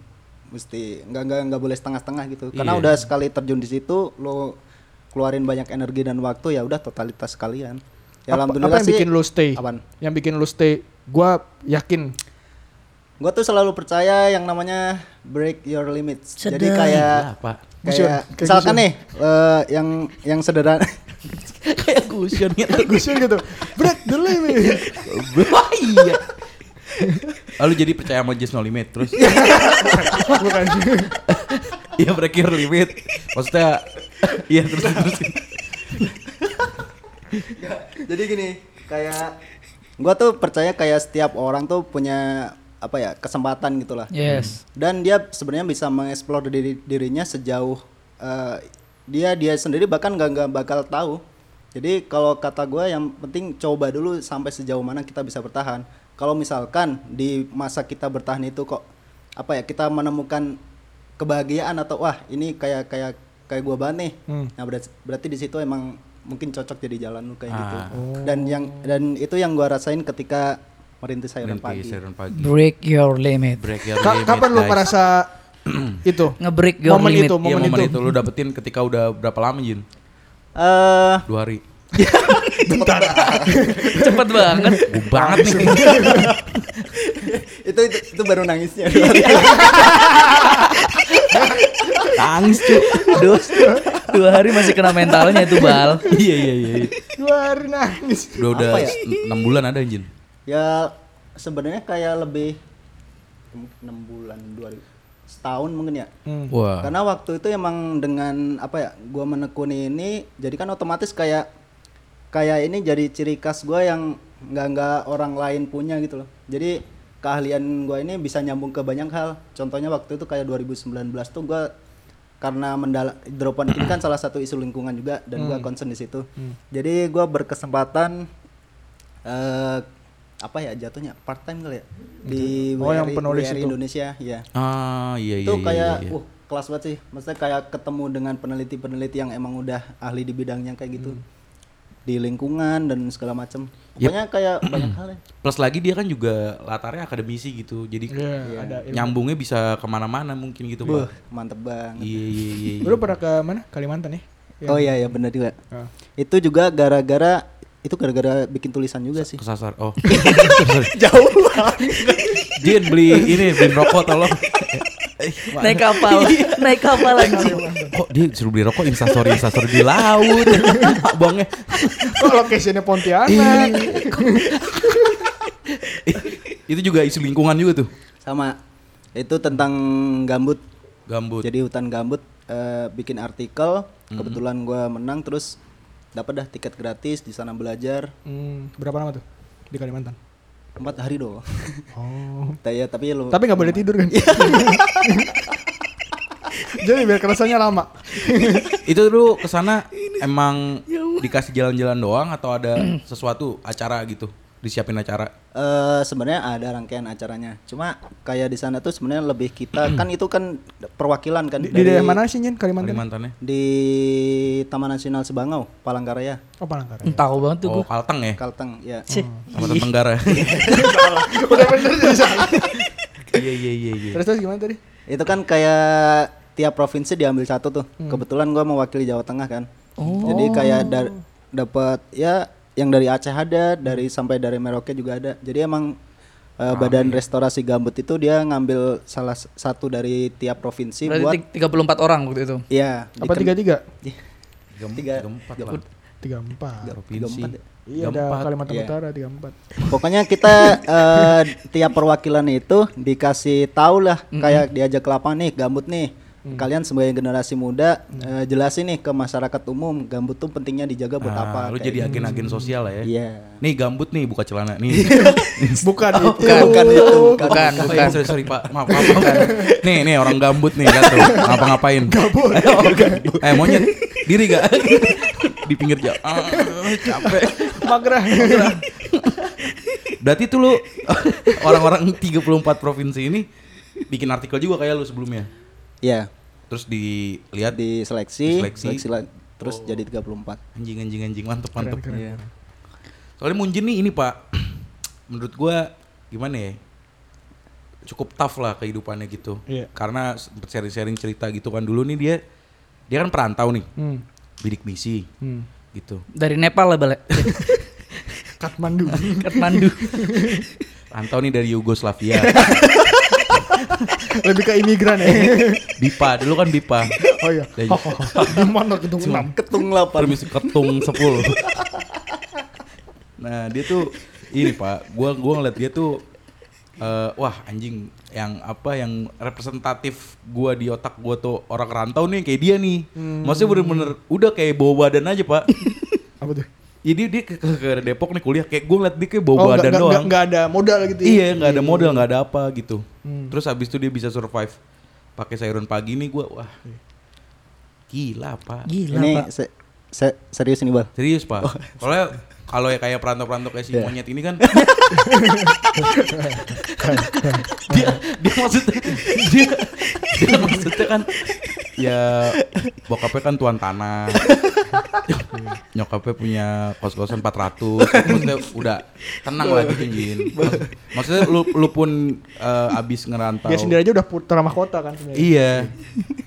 [SPEAKER 3] mesti nggak nggak nggak boleh setengah-setengah gitu karena
[SPEAKER 2] Iya.
[SPEAKER 3] udah sekali terjun di situ lo keluarin banyak energi dan waktu ya udah totalitas sekalian ya
[SPEAKER 1] apa,
[SPEAKER 3] alhamdulillah
[SPEAKER 1] apa yang
[SPEAKER 3] sih
[SPEAKER 1] bikin lu stay?
[SPEAKER 3] apaan?
[SPEAKER 1] Yang bikin lu stay? Gue yakin
[SPEAKER 3] gua tuh selalu percaya yang namanya break your limits jadi
[SPEAKER 4] Sedang.
[SPEAKER 3] kayak
[SPEAKER 1] Iya,
[SPEAKER 2] Gila, Ya, pak
[SPEAKER 1] Gusion,
[SPEAKER 3] kayak
[SPEAKER 1] kayak
[SPEAKER 3] misalkan
[SPEAKER 1] gusion.
[SPEAKER 3] nih eh, yang yang sederhana
[SPEAKER 2] kayak gusion gitu
[SPEAKER 1] Gusion gitu. Break the limit.
[SPEAKER 2] wah iya lalu jadi percaya sama Just No Limit terus
[SPEAKER 1] Iya. Bukan.
[SPEAKER 2] iya break your limit maksudnya iya terus terus
[SPEAKER 3] Jadi gini, kayak gua tuh percaya kayak setiap orang tuh punya apa ya kesempatan gitulah.
[SPEAKER 4] Yes.
[SPEAKER 3] Dan dia sebenarnya bisa mengeksplor diri, dirinya sejauh eh, dia dia sendiri bahkan nggak nggak bakal tahu. Jadi kalau kata gua yang penting coba dulu sampai sejauh mana kita bisa bertahan. Kalau misalkan di masa kita bertahan itu kok apa ya kita menemukan kebahagiaan atau wah ini kayak kayak kayak gua banget nih. Nah berarti, berarti di situ emang mungkin cocok jadi jalan lu kayak gitu. Dan yang dan itu yang gua rasain ketika merintis sayuran
[SPEAKER 2] Berhenti,
[SPEAKER 3] pagi.
[SPEAKER 2] siaran pagi
[SPEAKER 4] Break your limit.
[SPEAKER 2] break your
[SPEAKER 1] Ka-
[SPEAKER 2] limit
[SPEAKER 1] kapan lu
[SPEAKER 2] guys.
[SPEAKER 1] merasa itu?
[SPEAKER 4] Ngebreak your
[SPEAKER 1] momen
[SPEAKER 4] limit.
[SPEAKER 1] itu,
[SPEAKER 2] Iya
[SPEAKER 1] momen,
[SPEAKER 2] momen
[SPEAKER 1] itu.
[SPEAKER 2] itu. lu dapetin ketika udah berapa lama Jin?
[SPEAKER 3] Eh
[SPEAKER 2] Dua hari.
[SPEAKER 4] Cepet banget.
[SPEAKER 2] Gue banget nih.
[SPEAKER 3] itu, itu itu baru nangisnya.
[SPEAKER 2] Tangis cuy.
[SPEAKER 4] Aduh, dua hari masih kena mentalnya itu bal.
[SPEAKER 2] Iya iya iya. iya.
[SPEAKER 1] Dua hari nangis.
[SPEAKER 2] Udah udah
[SPEAKER 3] Apa ya?
[SPEAKER 2] 6 bulan ada Jin.
[SPEAKER 3] ya sebenarnya kayak lebih 6 bulan 2 setahun mungkin ya.
[SPEAKER 1] Hmm.
[SPEAKER 2] Wah.
[SPEAKER 3] Karena waktu itu emang dengan apa ya, gua menekuni ini, jadi kan otomatis kayak kayak ini jadi ciri khas gua yang nggak nggak orang lain punya gitu loh. Jadi keahlian gua ini bisa nyambung ke banyak hal. Contohnya waktu itu kayak 2019 tuh gua karena mendala hidroponik ini kan salah satu isu lingkungan juga dan
[SPEAKER 1] Hmm.
[SPEAKER 3] gua concern di situ. Jadi gua berkesempatan eh apa ya jatuhnya part time kali ya di
[SPEAKER 1] Oh, yang
[SPEAKER 3] WRI
[SPEAKER 1] penulis itu.
[SPEAKER 3] Indonesia ya
[SPEAKER 2] Ah iya iya.
[SPEAKER 3] itu
[SPEAKER 2] iya,
[SPEAKER 3] kayak
[SPEAKER 2] iya, iya.
[SPEAKER 3] uh kelas banget
[SPEAKER 2] Hmm.
[SPEAKER 3] sih maksudnya kayak ketemu dengan peneliti-peneliti yang emang udah ahli di bidangnya kayak gitu di lingkungan dan segala macam. Pokoknya kayak banyak hal ya.
[SPEAKER 2] Plus lagi dia kan juga latarnya akademisi gitu. Jadi
[SPEAKER 1] Iya, ada.
[SPEAKER 2] nyambungnya bisa kemana-mana mungkin gitu pak.
[SPEAKER 3] Mantep banget.
[SPEAKER 2] Iya iya iya.
[SPEAKER 1] Lu pernah ke mana? Kalimantan ya? Iya.
[SPEAKER 3] Oh iya ya benar juga.
[SPEAKER 1] Ah.
[SPEAKER 3] Itu juga gara-gara itu gara-gara bikin tulisan juga sih.
[SPEAKER 2] Kesasar. Oh,
[SPEAKER 3] Jauh.
[SPEAKER 2] Jin beli ini beli rokok tolong. Eh,
[SPEAKER 4] Naik kapal, naik kapal anjing.
[SPEAKER 2] Kok dia disuruh beli rokok instastory instastory di laut. Bangnya.
[SPEAKER 1] Kok lokasinya Oh, Pontianak?
[SPEAKER 2] Iya. Itu juga isu lingkungan juga tuh.
[SPEAKER 3] Sama itu tentang gambut.
[SPEAKER 2] Gambut. Hmm.
[SPEAKER 3] Jadi hutan gambut eh, bikin artikel, kebetulan gua menang terus dapat dah tiket gratis di sana belajar
[SPEAKER 1] Hmm, berapa lama tuh di Kalimantan?
[SPEAKER 3] empat hari doh.
[SPEAKER 1] Oh.
[SPEAKER 3] ya, tapi lu
[SPEAKER 1] Tapi nggak boleh tidur kan? Jadi biar kerasanya lama.
[SPEAKER 2] Itu lu kesana emang dikasih jalan-jalan doang atau ada sesuatu acara gitu disiapin acara?
[SPEAKER 3] Eh, sebenarnya ada rangkaian acaranya. Cuma kayak di sana tuh sebenarnya lebih kita kan itu kan perwakilan kan
[SPEAKER 1] Di, di daerah mana sih Nyen Kalimantan?
[SPEAKER 2] Kalimantannya?
[SPEAKER 3] di Taman Nasional Sebangau, Palangkaraya,
[SPEAKER 1] Oh Palangkaraya.
[SPEAKER 4] Tahu banget tuh
[SPEAKER 2] Oh
[SPEAKER 4] gue.
[SPEAKER 2] Kalteng ya?
[SPEAKER 3] Kalteng, ya.
[SPEAKER 4] Cih.
[SPEAKER 2] Sama Tenggara.
[SPEAKER 1] Udah bener di sana.
[SPEAKER 2] Iya iya iya iya.
[SPEAKER 1] Terus terus gimana tadi?
[SPEAKER 3] Itu kan kayak tiap provinsi diambil satu tuh.
[SPEAKER 1] Hmm.
[SPEAKER 3] Kebetulan gua mewakili Jawa Tengah kan.
[SPEAKER 1] Oh.
[SPEAKER 3] Jadi kayak dar- dapat ya yang dari Aceh ada, dari sampai dari Merauke juga ada. Jadi emang
[SPEAKER 1] Ah, iya.
[SPEAKER 3] eh, Badan Restorasi Gambut itu dia ngambil salah s- satu dari tiap provinsi buat
[SPEAKER 4] Berarti ti- 34 orang waktu itu.
[SPEAKER 3] ya Iya.
[SPEAKER 1] Apa tiga tiga?
[SPEAKER 3] Tiga-
[SPEAKER 2] empat lah.
[SPEAKER 1] Tiga empat.
[SPEAKER 2] Provinsi.
[SPEAKER 1] Iya ada Kalimantan
[SPEAKER 3] Iya.
[SPEAKER 1] Utara tiga empat.
[SPEAKER 3] Pokoknya kita eh, tiap perwakilan itu dikasih tahu lah kayak diajak ke lapangan nih gambut nih.
[SPEAKER 2] Mm.
[SPEAKER 3] Kalian sebagai generasi muda eh, jelasin nih ke masyarakat umum gambut tuh pentingnya dijaga buat
[SPEAKER 2] Ah,
[SPEAKER 3] apa.
[SPEAKER 2] Lu
[SPEAKER 3] kayak
[SPEAKER 2] jadi
[SPEAKER 3] gitu.
[SPEAKER 2] agen-agen sosial lah ya.
[SPEAKER 3] Iya.
[SPEAKER 2] Nih gambut nih buka celana nih.
[SPEAKER 1] Bukan itu.
[SPEAKER 3] Bukan, bukan itu. bukan.
[SPEAKER 4] Bukan,
[SPEAKER 2] Oh,
[SPEAKER 4] bukan.
[SPEAKER 2] iya, sorry, sorry, Pak. Maaf, maaf, maaf. Nih, nih orang gambut nih kan tuh. Ngapa-ngapain? Gabut. eh, monyet. Diri gak? Di pinggir jalan. Ah, capek.
[SPEAKER 1] Magrah.
[SPEAKER 2] Berarti tuh lu orang-orang 34 provinsi ini bikin artikel juga kayak lu sebelumnya.
[SPEAKER 3] Iya.
[SPEAKER 2] Terus dilihat di
[SPEAKER 3] Di seleksi,
[SPEAKER 2] Diseleksi. Oh.
[SPEAKER 3] seleksi la- terus jadi 34.
[SPEAKER 2] anjing anjing anjing mantep mantep.
[SPEAKER 1] keren,
[SPEAKER 3] Iya.
[SPEAKER 2] Soalnya Munjin nih ini Pak, menurut gua gimana ya? Cukup tough lah kehidupannya gitu.
[SPEAKER 1] Iya.
[SPEAKER 2] Karena sharing-sharing cerita gitu kan dulu nih dia dia kan perantau nih,
[SPEAKER 1] Hmm.
[SPEAKER 2] bidik misi
[SPEAKER 1] Hmm.
[SPEAKER 2] gitu.
[SPEAKER 4] Dari Nepal lah balik.
[SPEAKER 1] Katmandu.
[SPEAKER 4] Kathmandu.
[SPEAKER 2] Perantau nih dari Yugoslavia.
[SPEAKER 1] Lebih ke imigran ya.
[SPEAKER 2] Bipa, dulu kan Bipa.
[SPEAKER 1] Oh iya.
[SPEAKER 2] Dan-
[SPEAKER 1] Di mana gedung enam?
[SPEAKER 3] Ketung 8.
[SPEAKER 2] Permisi ketung 10. nah, dia tuh ini Pak, gua gua ngeliat dia tuh eh, wah anjing yang apa yang representatif gua di otak gua tuh orang rantau nih kayak dia nih. Maksudnya bener-bener udah kayak bawa badan aja, Pak.
[SPEAKER 1] Apa tuh?
[SPEAKER 2] Jadi dia ke, ke- ke Depok nih kuliah kayak gua ngeliat dia kayak bawa
[SPEAKER 1] Oh, nggak-
[SPEAKER 2] badan
[SPEAKER 1] nggak-
[SPEAKER 2] doang.
[SPEAKER 1] nggak- nggak ada modal gitu ya?
[SPEAKER 2] Iya, nggak ada modal, nggak ada apa gitu.
[SPEAKER 1] Hmm.
[SPEAKER 2] Terus habis itu dia bisa survive pakai sayuran pagi nih gua wah. Gila, Pak.
[SPEAKER 4] Gila,
[SPEAKER 3] Ini
[SPEAKER 4] Iya, Pak.
[SPEAKER 3] se- se- serius nih, Bal.
[SPEAKER 2] Serius pak.
[SPEAKER 1] Oh.
[SPEAKER 2] Soalnya kalau ya kayak perantau-perantau kayak si
[SPEAKER 1] Iya.
[SPEAKER 2] monyet ini kan. dia dia maksudnya dia, dia maksudnya kan ya bokapnya kan tuan tanah. Nyokapnya punya kos-kosan 400 Maksudnya udah tenang lah gitu Jin Maksud- Maksudnya lu, lu pun eh, abis ngerantau
[SPEAKER 1] Dia sendiri aja udah putra mahkota kan sebenarnya.
[SPEAKER 2] Iya.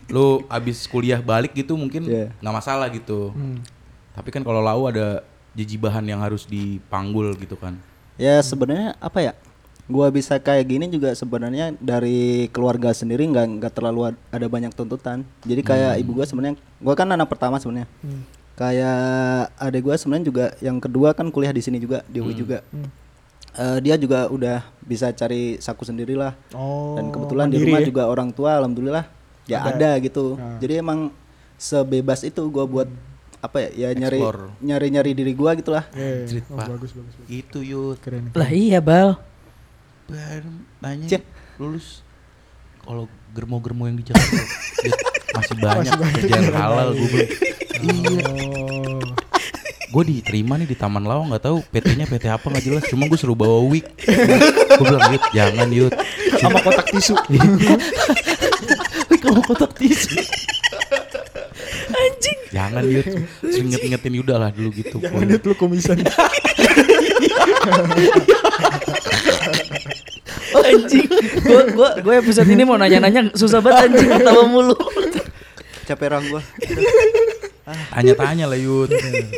[SPEAKER 2] Lu abis kuliah balik gitu mungkin
[SPEAKER 3] Iya.
[SPEAKER 2] nggak masalah gitu.
[SPEAKER 1] Hmm,
[SPEAKER 2] Tapi kan kalau lau ada jejibahan yang harus dipanggul gitu kan.
[SPEAKER 3] Ya sebenarnya apa ya? Gua bisa kayak gini juga sebenarnya dari keluarga sendiri nggak nggak terlalu ad- ada banyak tuntutan. Jadi kayak
[SPEAKER 1] Hmm.
[SPEAKER 3] ibu gua sebenarnya, gua kan anak pertama sebenarnya. Kayak adik gua sebenarnya juga yang kedua kan kuliah di sini juga di
[SPEAKER 1] Hmm.
[SPEAKER 3] UI juga. Eh, dia juga udah bisa cari saku sendirilah.
[SPEAKER 1] Oh.
[SPEAKER 3] Dan kebetulan di
[SPEAKER 1] mandiri
[SPEAKER 3] rumah
[SPEAKER 1] ya? Ah.
[SPEAKER 3] juga orang tua alhamdulillah ya ada, gitu. Jadi emang sebebas itu gua buat
[SPEAKER 1] Hmm.
[SPEAKER 3] apa ya? Ya nyari
[SPEAKER 2] Explore.
[SPEAKER 3] nyari-nyari diri gua gitulah.
[SPEAKER 1] Iya, iya,
[SPEAKER 2] Anjrit,
[SPEAKER 1] oh,
[SPEAKER 2] Pak.
[SPEAKER 1] bagus bagus. bagus.
[SPEAKER 2] Itu yud.
[SPEAKER 1] Keren.
[SPEAKER 4] Lah iya, Bal.
[SPEAKER 2] Baru Tanya
[SPEAKER 3] Cek.
[SPEAKER 2] lulus kalau germo-germo yang di Jakarta Yud, masih banyak kerjaan halal gue Iya.
[SPEAKER 1] Oh.
[SPEAKER 2] Gue diterima nih di Taman Lawang nggak tahu PT-nya PT apa nggak jelas. Cuma gue suruh bawa wig. Gue bilang Yud jangan Yud.
[SPEAKER 1] Sama kotak tisu.
[SPEAKER 2] Kamu kotak tisu.
[SPEAKER 4] Anjing.
[SPEAKER 2] Jangan jangan dia sering inget-ingetin Yuda lah dulu gitu.
[SPEAKER 1] Jangan dia lu kumisan.
[SPEAKER 4] Oh, anjing. Gua gua gua episode ini mau nanya-nanya susah banget anjing ketawa mulu.
[SPEAKER 3] Capek orang gua.
[SPEAKER 2] Tanya-tanya lah Yud. Iya.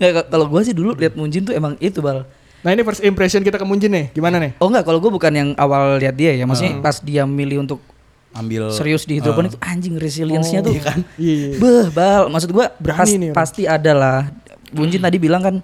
[SPEAKER 4] Nggak, kalau gua sih dulu lihat Munjin tuh emang itu, Bal.
[SPEAKER 1] Nah ini first impression kita ke Munjin nih, gimana nih?
[SPEAKER 4] Oh enggak, kalau gue bukan yang awal lihat dia ya, maksudnya
[SPEAKER 2] Hmm.
[SPEAKER 4] pas dia milih untuk
[SPEAKER 2] Ambil
[SPEAKER 4] serius di hidroponik tuh anjing resiliensinya tuh.
[SPEAKER 2] Eh, iya kan?
[SPEAKER 1] Iya, iya.
[SPEAKER 4] Beh, bal, maksud gua
[SPEAKER 1] Berani
[SPEAKER 4] pas-
[SPEAKER 1] nih orang.
[SPEAKER 4] pasti ada lah. Bunjin tadi bilang kan,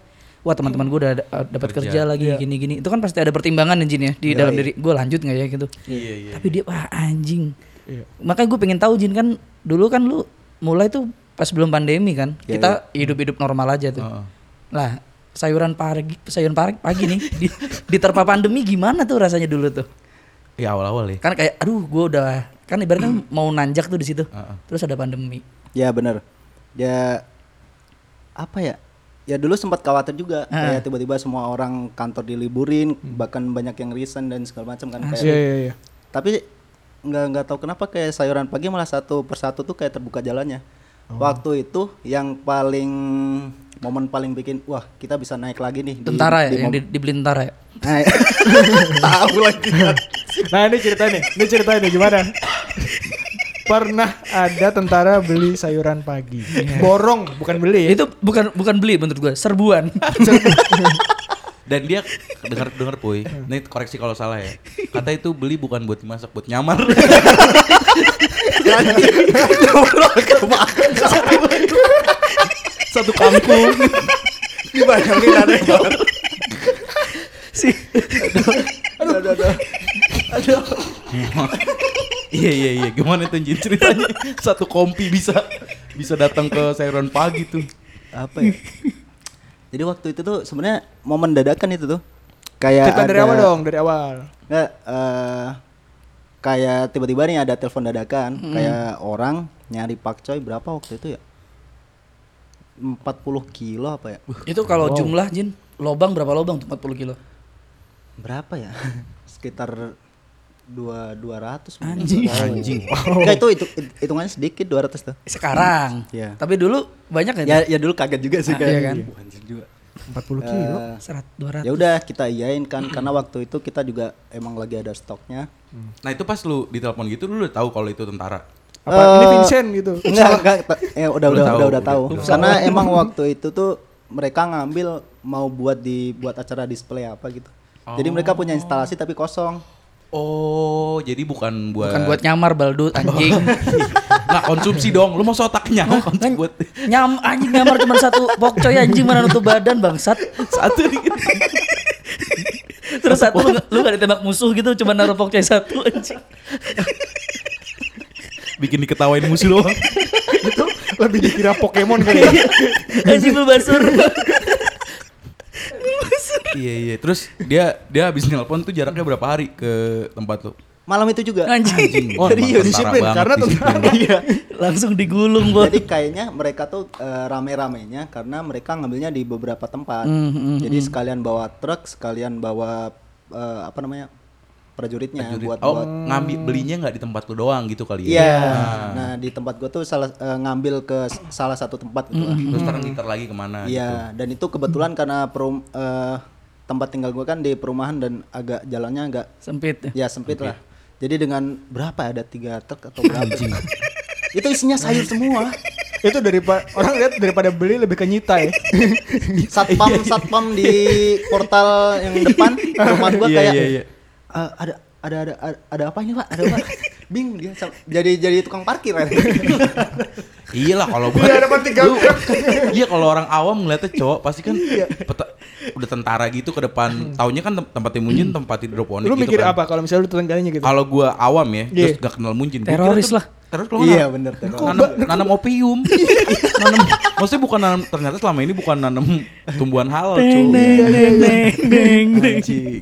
[SPEAKER 4] wah teman-teman gue udah da- dapat
[SPEAKER 2] Kerja. Iya.
[SPEAKER 4] kerja lagi gini-gini. Itu kan pasti ada pertimbangan anjing ya di dalam diri. Gue lanjut nggak ya gitu.
[SPEAKER 2] Iya, iya.
[SPEAKER 4] Tapi dia wah anjing.
[SPEAKER 1] Iya.
[SPEAKER 4] Makanya gue pengen tahu Jin kan dulu kan lu mulai tuh pas belum pandemi kan.
[SPEAKER 3] Iya,
[SPEAKER 4] kita hidup-hidup normal aja tuh.
[SPEAKER 2] Heeh.
[SPEAKER 4] Lah, sayuran pagi sayuran pagi, pagi nih di, diterpa pandemi gimana tuh rasanya dulu tuh?
[SPEAKER 2] Ya awal-awal ya.
[SPEAKER 4] Kan kayak aduh gue udah kan ibaratnya mau nanjak tuh di situ.
[SPEAKER 2] Heeh.
[SPEAKER 4] Terus ada pandemi.
[SPEAKER 3] Ya benar. Ya apa ya? Ya dulu sempat khawatir juga
[SPEAKER 4] Ah. Hmm.
[SPEAKER 3] kayak tiba-tiba semua orang kantor diliburin, bahkan banyak yang resign dan segala macam kan kayak.
[SPEAKER 1] Iya iya iya.
[SPEAKER 3] Tapi nggak nggak tahu kenapa kayak sayuran pagi malah satu persatu tuh kayak terbuka jalannya.
[SPEAKER 4] Oh.
[SPEAKER 3] Waktu itu yang paling momen paling bikin wah kita bisa naik lagi nih di-
[SPEAKER 4] Tentara ya,
[SPEAKER 3] di
[SPEAKER 4] yang
[SPEAKER 3] mom-
[SPEAKER 4] di, dibeli tentara ya.
[SPEAKER 3] Nah, tahu lagi kan.
[SPEAKER 1] Nah ini cerita nih, ini cerita nih gimana? Pernah ada tentara beli sayuran pagi, borong bukan beli. ya?
[SPEAKER 4] Ya, Itu bukan bukan beli menurut gua, serbuan.
[SPEAKER 2] Dan dia dengar dengar puy. Ini koreksi kalau salah ya. Kata itu beli bukan buat dimasak, buat nyamar.
[SPEAKER 3] Satu kampung. Dibayangin ada yang
[SPEAKER 4] si
[SPEAKER 2] Iya iya iya. Gimana tuh Jin ceritanya? Satu kompi bisa bisa datang ke sayuran pagi tuh.
[SPEAKER 3] apa ya? Jadi waktu itu tuh sebenarnya momen dadakan itu tuh. Kayak
[SPEAKER 1] cerita
[SPEAKER 3] Ya, ada,
[SPEAKER 1] dari awal dong, dari awal.
[SPEAKER 3] Nggak, eh, kayak tiba-tiba nih ada telepon dadakan, kayak orang nyari pakcoy berapa waktu itu ya? 40 kilo apa ya?
[SPEAKER 4] itu kalau jumlah Jin, lobang berapa lobang tuh 40 kilo?
[SPEAKER 3] Berapa ya? Sekitar dua 200 mungkin.
[SPEAKER 4] Anjing.
[SPEAKER 2] Anjing.
[SPEAKER 3] Nggak, itu itu itu- hitungannya sedikit 200 tuh.
[SPEAKER 4] Sekarang.
[SPEAKER 3] Iya.
[SPEAKER 4] Tapi dulu banyak
[SPEAKER 3] Ya
[SPEAKER 4] ya?
[SPEAKER 3] ya dulu kaget juga sih
[SPEAKER 4] Ah,
[SPEAKER 3] kayak.
[SPEAKER 4] iya kan?
[SPEAKER 3] Wah, anjing juga.
[SPEAKER 1] 40 kilo.
[SPEAKER 3] Eh,
[SPEAKER 4] Serat 200.
[SPEAKER 3] ya udah kita iyain kan karena waktu itu kita juga emang lagi ada stoknya.
[SPEAKER 1] Hmm.
[SPEAKER 2] Nah itu pas lu ditelepon gitu lu udah tahu kalau itu tentara.
[SPEAKER 1] Apa ini Vincent gitu?
[SPEAKER 3] Enggak, enggak, ta-
[SPEAKER 2] Udah
[SPEAKER 3] eh, udah, udah,
[SPEAKER 2] tahu,
[SPEAKER 3] udah, udah
[SPEAKER 2] udah
[SPEAKER 3] tahu.
[SPEAKER 2] tahu.
[SPEAKER 3] Karena emang waktu itu tuh mereka ngambil mau buat dibuat acara display apa gitu. Jadi mereka punya instalasi tapi kosong.
[SPEAKER 2] Oh, jadi bukan buat
[SPEAKER 4] Bukan buat nyamar baldut anjing.
[SPEAKER 2] nggak konsumsi dong. Lu mau otaknya konsumsi buat
[SPEAKER 4] Nyam anjing nyamar cuma satu pokcoy anjing mana nutup badan bangsat.
[SPEAKER 2] satu dikit.
[SPEAKER 4] Terus satu lu, lu gak ditembak musuh gitu cuma naruh pokcoy satu anjing.
[SPEAKER 2] Bikin diketawain musuh doang.
[SPEAKER 1] itu lebih dikira Pokemon kali ya.
[SPEAKER 4] Anjing bulbasur.
[SPEAKER 2] iya iya. Terus dia dia habis nelpon tuh jaraknya berapa hari ke tempat lu?
[SPEAKER 3] Malam itu juga.
[SPEAKER 2] Anjing,
[SPEAKER 4] Anjing.
[SPEAKER 1] Oh, serius,
[SPEAKER 2] emang tentara
[SPEAKER 1] disiplin,
[SPEAKER 2] banget,
[SPEAKER 1] karena
[SPEAKER 2] disiplin
[SPEAKER 1] tentara.
[SPEAKER 2] banget.
[SPEAKER 3] Iya.
[SPEAKER 4] Langsung digulung gua.
[SPEAKER 3] Jadi kayaknya mereka tuh eh, rame-ramenya karena mereka ngambilnya di beberapa tempat. Jadi sekalian bawa truk, sekalian bawa eh, apa namanya? prajuritnya
[SPEAKER 2] Jadi-
[SPEAKER 3] buat
[SPEAKER 2] oh,
[SPEAKER 3] buat
[SPEAKER 2] ngambil belinya nggak di tempat lu doang gitu kali
[SPEAKER 3] Iya.
[SPEAKER 2] ya.
[SPEAKER 3] Nah, di tempat gua tuh salah eh, ngambil ke s- salah satu tempat gitu. lah.
[SPEAKER 2] Terus sekarang ngitar lagi kemana Hmm. gitu.
[SPEAKER 3] Iya, dan itu kebetulan karena perum, eh, tempat tinggal gue kan di perumahan dan agak jalannya agak
[SPEAKER 4] Sempit.
[SPEAKER 3] ya sempit lah. Jadi dengan berapa ya? ada tiga truk atau berapa? itu isinya sayur semua.
[SPEAKER 1] itu daripada orang lihat daripada beli lebih ke nyita ya.
[SPEAKER 3] Satpam
[SPEAKER 2] Iya.
[SPEAKER 3] satpam di portal yang depan rumah gue
[SPEAKER 2] Iya,
[SPEAKER 3] kayak
[SPEAKER 2] iya, iya.
[SPEAKER 3] "Eh, ada ada ada ada, ada apa ini pak? Ada apa? Bing dia sam- jadi jadi tukang parkir. kan.
[SPEAKER 2] Iya lah kalau buat Lu- Iya kalau orang awam ngeliatnya cowok pasti kan
[SPEAKER 3] Iya.
[SPEAKER 2] peta- udah tentara gitu ke depan. Taunya kan tem- tempat Munjin tempat hidroponik
[SPEAKER 1] Lu
[SPEAKER 2] gitu
[SPEAKER 1] mikir
[SPEAKER 2] kan.
[SPEAKER 1] apa kalau misalnya lu tetangganya gitu?
[SPEAKER 2] Kalau gua awam ya, terus
[SPEAKER 1] Iya.
[SPEAKER 2] gak kenal Munjin. gua kira
[SPEAKER 4] Teroris
[SPEAKER 2] tuh
[SPEAKER 4] lah.
[SPEAKER 2] Teroris kalau
[SPEAKER 3] Iya
[SPEAKER 2] nggak-
[SPEAKER 3] bener. Iya. Teh.
[SPEAKER 2] nanam, nanam opium. nanam, maksudnya bukan nanam, ternyata selama ini bukan nanam tumbuhan halal, cuy.
[SPEAKER 4] neng neng neng neng.
[SPEAKER 2] Anjing.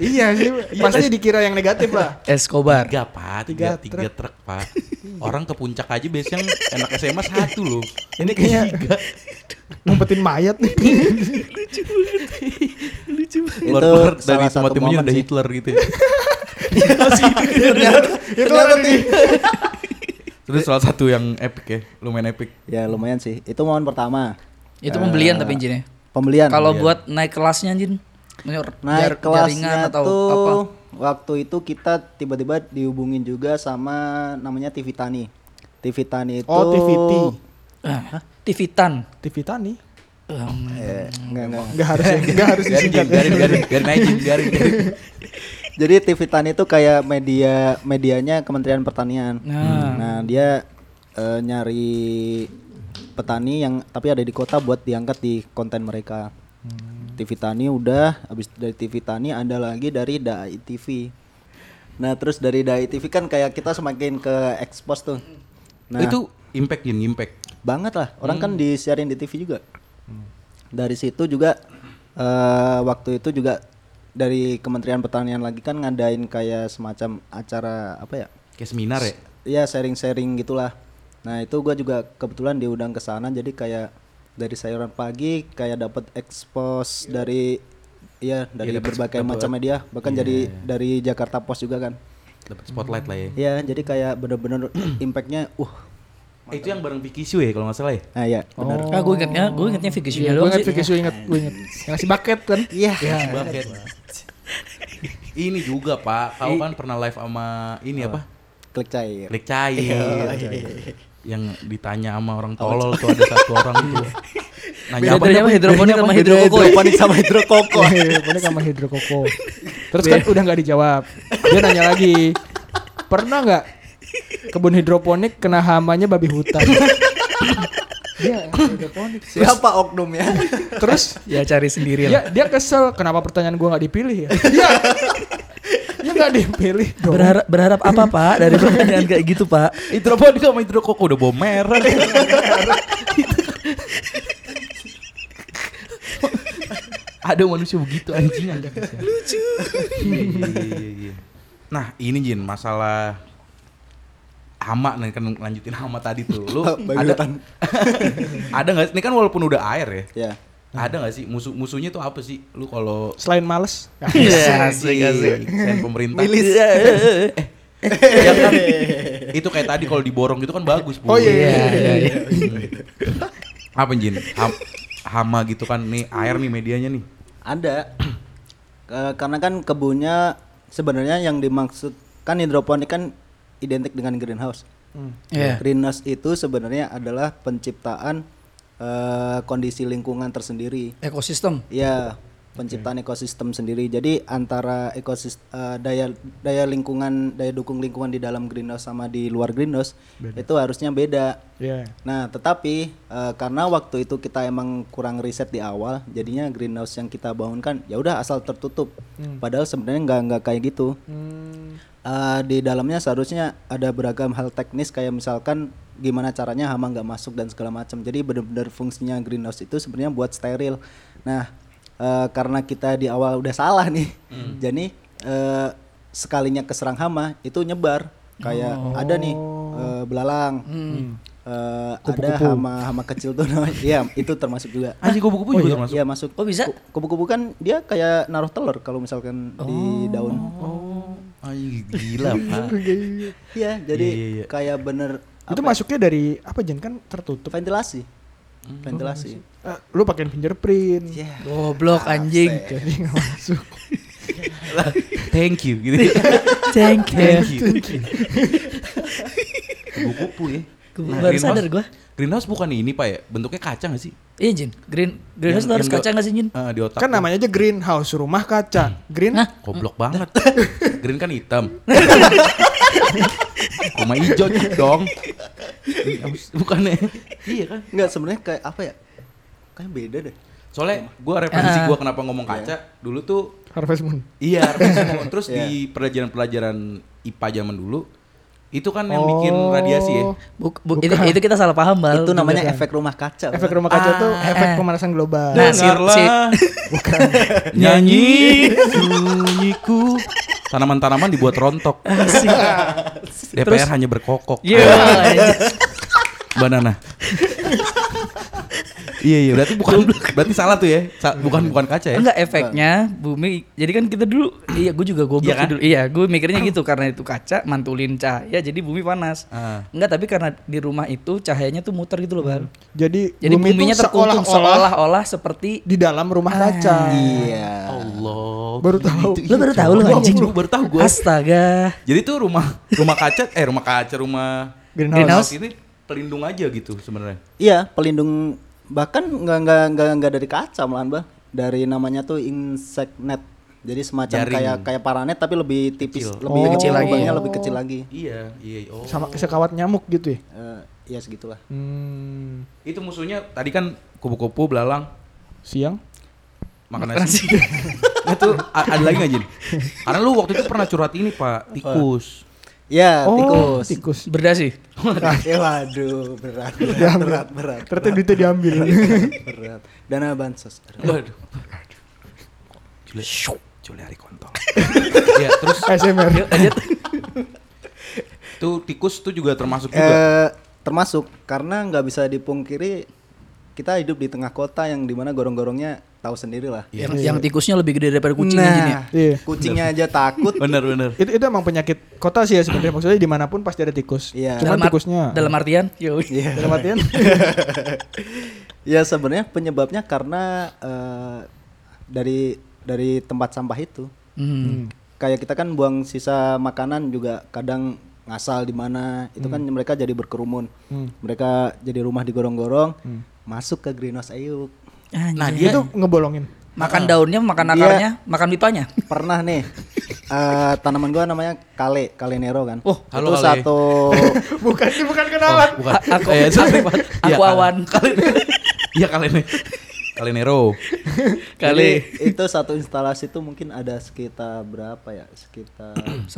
[SPEAKER 1] iya sih, pasti dikira yang negatif lah.
[SPEAKER 4] Escobar.
[SPEAKER 2] Tiga, Pak. Tiga,
[SPEAKER 1] Tiga
[SPEAKER 2] tiga truk, Pak. Orang ke puncak aja biasanya yang anak SMA satu loh.
[SPEAKER 1] Ini kayaknya ngumpetin mayat nih.
[SPEAKER 2] Keluar-keluar
[SPEAKER 3] Itu
[SPEAKER 2] dari
[SPEAKER 3] salah
[SPEAKER 2] tempat
[SPEAKER 3] satu
[SPEAKER 2] Munjin
[SPEAKER 3] momen
[SPEAKER 2] ada
[SPEAKER 3] sih.
[SPEAKER 2] Hitler gitu ya.
[SPEAKER 1] itu ada di
[SPEAKER 2] Terus Terus salah satu yang epic ya, lumayan epic.
[SPEAKER 3] Ya lumayan sih. Itu momen pertama.
[SPEAKER 4] Itu pembelian tapi injinnya.
[SPEAKER 3] Pembelian.
[SPEAKER 4] Kalau buat naik kelasnya anjing, menyor- jar-
[SPEAKER 3] naik kelasnya
[SPEAKER 4] atau
[SPEAKER 3] tuh
[SPEAKER 4] apa?
[SPEAKER 3] waktu itu kita tiba-tiba dihubungin juga sama namanya TV Tani. TV Tani itu
[SPEAKER 1] Oh, TVT.
[SPEAKER 4] Ah, Tivitan.
[SPEAKER 1] Tivitani.
[SPEAKER 3] Eh, enggak, enggak.
[SPEAKER 1] Enggak harus ya, enggak harus
[SPEAKER 2] Biarin,
[SPEAKER 1] disingkat.
[SPEAKER 2] Jin, biarin, biarin, biarin aja, Jin, biarin, biarin.
[SPEAKER 3] Jadi TV Tani itu kayak media medianya Kementerian Pertanian.
[SPEAKER 4] Nah.
[SPEAKER 3] Nah, dia eh, nyari petani yang tapi ada di kota buat diangkat di konten mereka. TV Tani udah habis dari TV Tani ada lagi dari Dai TV. Nah, terus dari Dai TV kan kayak kita semakin ke expose tuh. Nah,
[SPEAKER 2] Itu impact Jin, impact.
[SPEAKER 3] banget lah. Orang kan disiarin di TV juga. Dari situ juga eh, waktu itu juga dari Kementerian Pertanian lagi kan ngadain kayak semacam acara apa ya?
[SPEAKER 2] Kayak seminar ya.
[SPEAKER 3] Ya sharing-sharing gitulah. Nah, itu gua juga kebetulan diundang ke sana jadi kayak dari sayuran pagi kayak dapat expose dari ya dari berbagai macam media, bahkan jadi dari Jakarta Post juga kan.
[SPEAKER 2] Dapat spotlight lah ya.
[SPEAKER 3] Ya, jadi kayak bener-bener impactnya uh.
[SPEAKER 2] Eh, Itu yang bareng Vicky Sue ya kalau nggak salah ya.
[SPEAKER 3] Nah, ya.
[SPEAKER 4] Ah, gue ingetnya, gue ingetnya Vicky Sunya
[SPEAKER 1] Gue
[SPEAKER 4] doang
[SPEAKER 1] inget
[SPEAKER 4] Iya, sih. ya.
[SPEAKER 1] Vicky Su inget, gue inget. Yang ngasih bucket kan?
[SPEAKER 3] Iya.
[SPEAKER 2] Bucket. Ini juga Pak, kau kan pernah live sama ini apa?
[SPEAKER 3] Klik cair.
[SPEAKER 2] Klik cair. Yang ditanya sama orang tolol tuh ada satu orang tuh. Nanya apa?
[SPEAKER 4] Bedanya apa hidroponik sama hidrokoko ya?
[SPEAKER 3] hidroponik sama hidrokoko.
[SPEAKER 1] Iya, Bonek sama hidrokoko. Terus kan udah nggak dijawab. Dia nanya lagi. Pernah nggak kebun hidroponik kena hamanya babi hutan? dia hidroponik.
[SPEAKER 3] Siapa oknum ya?
[SPEAKER 1] Terus
[SPEAKER 4] Ya cari sendiri lah.
[SPEAKER 1] dia dia kesel kenapa pertanyaan gua nggak dipilih ya? Iya. Ya nggak dipilih dong.
[SPEAKER 4] Berharap, berharap apa pak dari pertanyaan kayak gitu pak?
[SPEAKER 2] Hidroponik sama hidrokoko udah bawa merah. ada manusia begitu anjing ada Iya, lucu nah ini Jin masalah hama nih kan lanjutin hama tadi tuh lu
[SPEAKER 3] Babi
[SPEAKER 2] ada
[SPEAKER 3] hutan.
[SPEAKER 2] ada nggak sih- ini kan walaupun udah air ya
[SPEAKER 3] ya.
[SPEAKER 2] ada nggak sih musuh musuhnya tuh apa sih lu kalau Iya.
[SPEAKER 1] Selain males, ya,
[SPEAKER 4] asik, asik.
[SPEAKER 2] Selain pemerintah Eh,
[SPEAKER 4] Iya, iya, iya.
[SPEAKER 2] Ya kan? itu kayak tadi kalau diborong gitu kan bagus bu
[SPEAKER 1] Oh, iya, iya,
[SPEAKER 4] iya, iya.
[SPEAKER 2] Hmm. apa Jin Ham- hama gitu kan nih air nih medianya nih
[SPEAKER 3] Ada. Ke- karena kan kebunnya sebenarnya yang dimaksud kan hidroponik kan identik dengan greenhouse.
[SPEAKER 4] Iya.
[SPEAKER 3] Greenhouse itu sebenarnya adalah penciptaan eh, kondisi lingkungan tersendiri.
[SPEAKER 4] Ekosistem.
[SPEAKER 3] Ya, penciptaan ekosistem sendiri. Jadi antara ekosistem daya daya lingkungan, daya dukung lingkungan di dalam greenhouse sama di luar greenhouse itu harusnya beda.
[SPEAKER 1] ya.
[SPEAKER 3] Nah, tetapi eh, karena waktu itu kita emang kurang riset di awal, jadinya greenhouse yang kita bangunkan ya udah asal tertutup. Padahal sebenarnya nggak nggak kayak gitu. Eh, di dalamnya seharusnya ada beragam hal teknis kayak misalkan gimana caranya hama nggak masuk dan segala macam. Jadi benar-benar fungsinya greenhouse itu sebenarnya buat steril. Nah, eh, karena kita di awal udah salah nih, jadi eh, sekalinya keserang hama itu nyebar. Kayak
[SPEAKER 4] Oh.
[SPEAKER 3] ada nih eh, belalang.
[SPEAKER 4] Hmm.
[SPEAKER 3] Eh, ada hama hama kecil tuh namanya. Iya, itu termasuk juga.
[SPEAKER 2] anjing kupu-kupu juga termasuk
[SPEAKER 3] Iya, masuk.
[SPEAKER 4] Kok bisa?
[SPEAKER 3] Kupu-kupu kan dia kayak naruh telur kalau misalkan
[SPEAKER 4] Oh.
[SPEAKER 3] di daun.
[SPEAKER 2] anjing gila pak
[SPEAKER 3] Iya, jadi
[SPEAKER 2] Iya, iya, iya.
[SPEAKER 3] kayak bener
[SPEAKER 1] Itu
[SPEAKER 3] ya?
[SPEAKER 1] masuknya dari apa Jen kan tertutup.
[SPEAKER 3] ventilasi. Ventilasi.
[SPEAKER 1] Eh, lu pakein fingerprint.
[SPEAKER 3] Iya.
[SPEAKER 4] Goblok anjing.
[SPEAKER 1] Jadi nggak masuk.
[SPEAKER 2] thank you gitu
[SPEAKER 4] Thank
[SPEAKER 2] thank
[SPEAKER 4] you.
[SPEAKER 2] you kupu-kupu ya
[SPEAKER 4] Kupu-
[SPEAKER 2] Nah,
[SPEAKER 4] baru
[SPEAKER 2] greenhouse-
[SPEAKER 4] sadar gua.
[SPEAKER 2] greenhouse bukan ini pak ya bentuknya kaca nggak sih
[SPEAKER 4] Iya Jin, green
[SPEAKER 2] Yang-
[SPEAKER 4] greenhouse tuh Iya, harus
[SPEAKER 2] yang
[SPEAKER 4] kaca nggak sih Jin?
[SPEAKER 2] Eh, di otak
[SPEAKER 1] Kan
[SPEAKER 2] tuh.
[SPEAKER 1] namanya aja greenhouse, rumah kaca. Green
[SPEAKER 4] Hah?
[SPEAKER 2] Goblok banget. Green kan hitam. Sama hijau gitu dong. Bukannya. Iya kan.
[SPEAKER 3] Enggak, sebenarnya kayak apa ya? Kayak beda deh.
[SPEAKER 2] Soalnya gue referensi gue kenapa ngomong
[SPEAKER 4] Iya.
[SPEAKER 2] kaca. Dulu tuh
[SPEAKER 1] Harvest Moon.
[SPEAKER 2] Iya, referensi ngomong. terus
[SPEAKER 3] Iya.
[SPEAKER 2] di pelajaran-pelajaran IPA zaman dulu itu kan yang bikin
[SPEAKER 1] Oh.
[SPEAKER 4] Oh.
[SPEAKER 2] radiasi ya.
[SPEAKER 4] Buk- bu- itu, itu kita salah paham bal.
[SPEAKER 3] Itu namanya
[SPEAKER 4] kan?
[SPEAKER 3] efek rumah kaca.
[SPEAKER 1] Efek rumah kaca tuh efek pemanasan global.
[SPEAKER 4] Nah, si-
[SPEAKER 2] Dengarlah nyanyi bunyiku. Tanaman-tanaman dibuat rontok. DPR hanya berkokok.
[SPEAKER 4] Iya. anjing.
[SPEAKER 2] banana. iya iya berarti bukan Berarti salah tuh ya. Sa- bukan bukan kaca ya.
[SPEAKER 4] Enggak efeknya bumi. Jadi kan kita dulu iya gue juga goblok
[SPEAKER 2] Iya kan?
[SPEAKER 4] sih dulu. Iya, gue mikirnya gitu karena itu kaca mantulin cahaya jadi bumi panas.
[SPEAKER 2] Ah.
[SPEAKER 4] Enggak, tapi karena di rumah itu cahayanya tuh muter gitu loh, Bal.
[SPEAKER 1] Jadi,
[SPEAKER 4] Jadi
[SPEAKER 1] bumi
[SPEAKER 4] buminya
[SPEAKER 1] itu
[SPEAKER 4] terkuntum
[SPEAKER 1] seolah-olah
[SPEAKER 4] seolah-olah Ah, seperti
[SPEAKER 1] di dalam rumah kaca.
[SPEAKER 3] Iya.
[SPEAKER 2] Allah.
[SPEAKER 1] Baru tahu.
[SPEAKER 4] Lu baru tahu lu
[SPEAKER 2] Gua
[SPEAKER 4] anjing.
[SPEAKER 2] baru- baru tahu gua.
[SPEAKER 4] Astaga.
[SPEAKER 2] Jadi tuh rumah rumah kaca eh rumah kaca rumah Nah,
[SPEAKER 1] Greenhouse.
[SPEAKER 2] ini pelindung aja gitu sebenarnya.
[SPEAKER 3] Iya, pelindung bahkan nggak nggak nggak nggak dari kaca malahan bah dari namanya tuh insect net. Jadi semacam
[SPEAKER 2] Jaring.
[SPEAKER 3] kayak kayak paranet tapi lebih tipis,
[SPEAKER 2] Kecil.
[SPEAKER 3] lebih
[SPEAKER 1] Oh.
[SPEAKER 3] kecil
[SPEAKER 1] Kecil lagi.
[SPEAKER 3] lagi, lebih kecil lagi.
[SPEAKER 2] Iya, iya. Oh.
[SPEAKER 1] Sama sekawat nyamuk gitu ya.
[SPEAKER 3] Eh, ya segitulah.
[SPEAKER 1] Oh, Hmm,
[SPEAKER 2] Itu musuhnya tadi kan kupu-kupu belalang
[SPEAKER 1] siang.
[SPEAKER 2] makan nasi. itu a- ada lagi nggak Jin? Karena lu waktu itu pernah curhat ini Pak tikus.
[SPEAKER 3] Ya,
[SPEAKER 1] Oh,
[SPEAKER 3] tikus.
[SPEAKER 1] tikus.
[SPEAKER 4] Berdah sih.
[SPEAKER 3] ya waduh, berat
[SPEAKER 1] Ya
[SPEAKER 3] berat berat berat.
[SPEAKER 1] Ternyata duitnya diambil.
[SPEAKER 3] Iya, berat. Dana bansos.
[SPEAKER 2] Waduh. Juli, Juli hari kontol. Iya, terus
[SPEAKER 1] ASMR.
[SPEAKER 2] tuh tikus tuh juga termasuk juga.
[SPEAKER 3] Eh, termasuk karena nggak bisa dipungkiri kita hidup di tengah kota yang dimana gorong-gorongnya tahu sendiri lah.
[SPEAKER 4] yang, yang tikusnya lebih gede daripada kucingnya
[SPEAKER 3] nah,
[SPEAKER 4] Jin, ya.
[SPEAKER 1] Iya.
[SPEAKER 3] kucingnya aja takut.
[SPEAKER 2] Bener bener.
[SPEAKER 1] Itu, itu emang penyakit kota sih ya sebenarnya maksudnya dimanapun pasti ada tikus.
[SPEAKER 3] Iya.
[SPEAKER 1] Cuman
[SPEAKER 4] Dalam ar-
[SPEAKER 1] tikusnya Hmm.
[SPEAKER 4] dalam artian yo.
[SPEAKER 1] dalam artian
[SPEAKER 3] ya sebenarnya penyebabnya karena eh, dari dari tempat sampah itu.
[SPEAKER 4] Hmm.
[SPEAKER 3] Kayak kita kan buang sisa makanan juga kadang ngasal di mana. Itu
[SPEAKER 2] Hmm.
[SPEAKER 3] kan mereka jadi berkerumun. Mereka jadi rumah digorong-gorong,
[SPEAKER 2] Hmm.
[SPEAKER 3] masuk ke greenhouse Ayuk.
[SPEAKER 4] Nah,
[SPEAKER 1] dia tuh ngebolongin.
[SPEAKER 4] makan daunnya, makan akarnya, makan pipanya.
[SPEAKER 3] Pernah nih eh, tanaman gua namanya kale, kale nero kan.
[SPEAKER 4] Oh,
[SPEAKER 2] halo
[SPEAKER 3] itu
[SPEAKER 2] kale.
[SPEAKER 3] satu
[SPEAKER 1] bukan sih bukan
[SPEAKER 2] Oh,
[SPEAKER 1] kenalan.
[SPEAKER 2] bukan.
[SPEAKER 4] A- aku-
[SPEAKER 2] Eh, sorry, Pak. Iya,
[SPEAKER 4] aku
[SPEAKER 2] Kak.
[SPEAKER 4] awan.
[SPEAKER 2] Iya kalian Kalenero.
[SPEAKER 4] Kali
[SPEAKER 3] jadi itu satu instalasi itu mungkin ada sekitar berapa ya? Sekitar
[SPEAKER 4] 100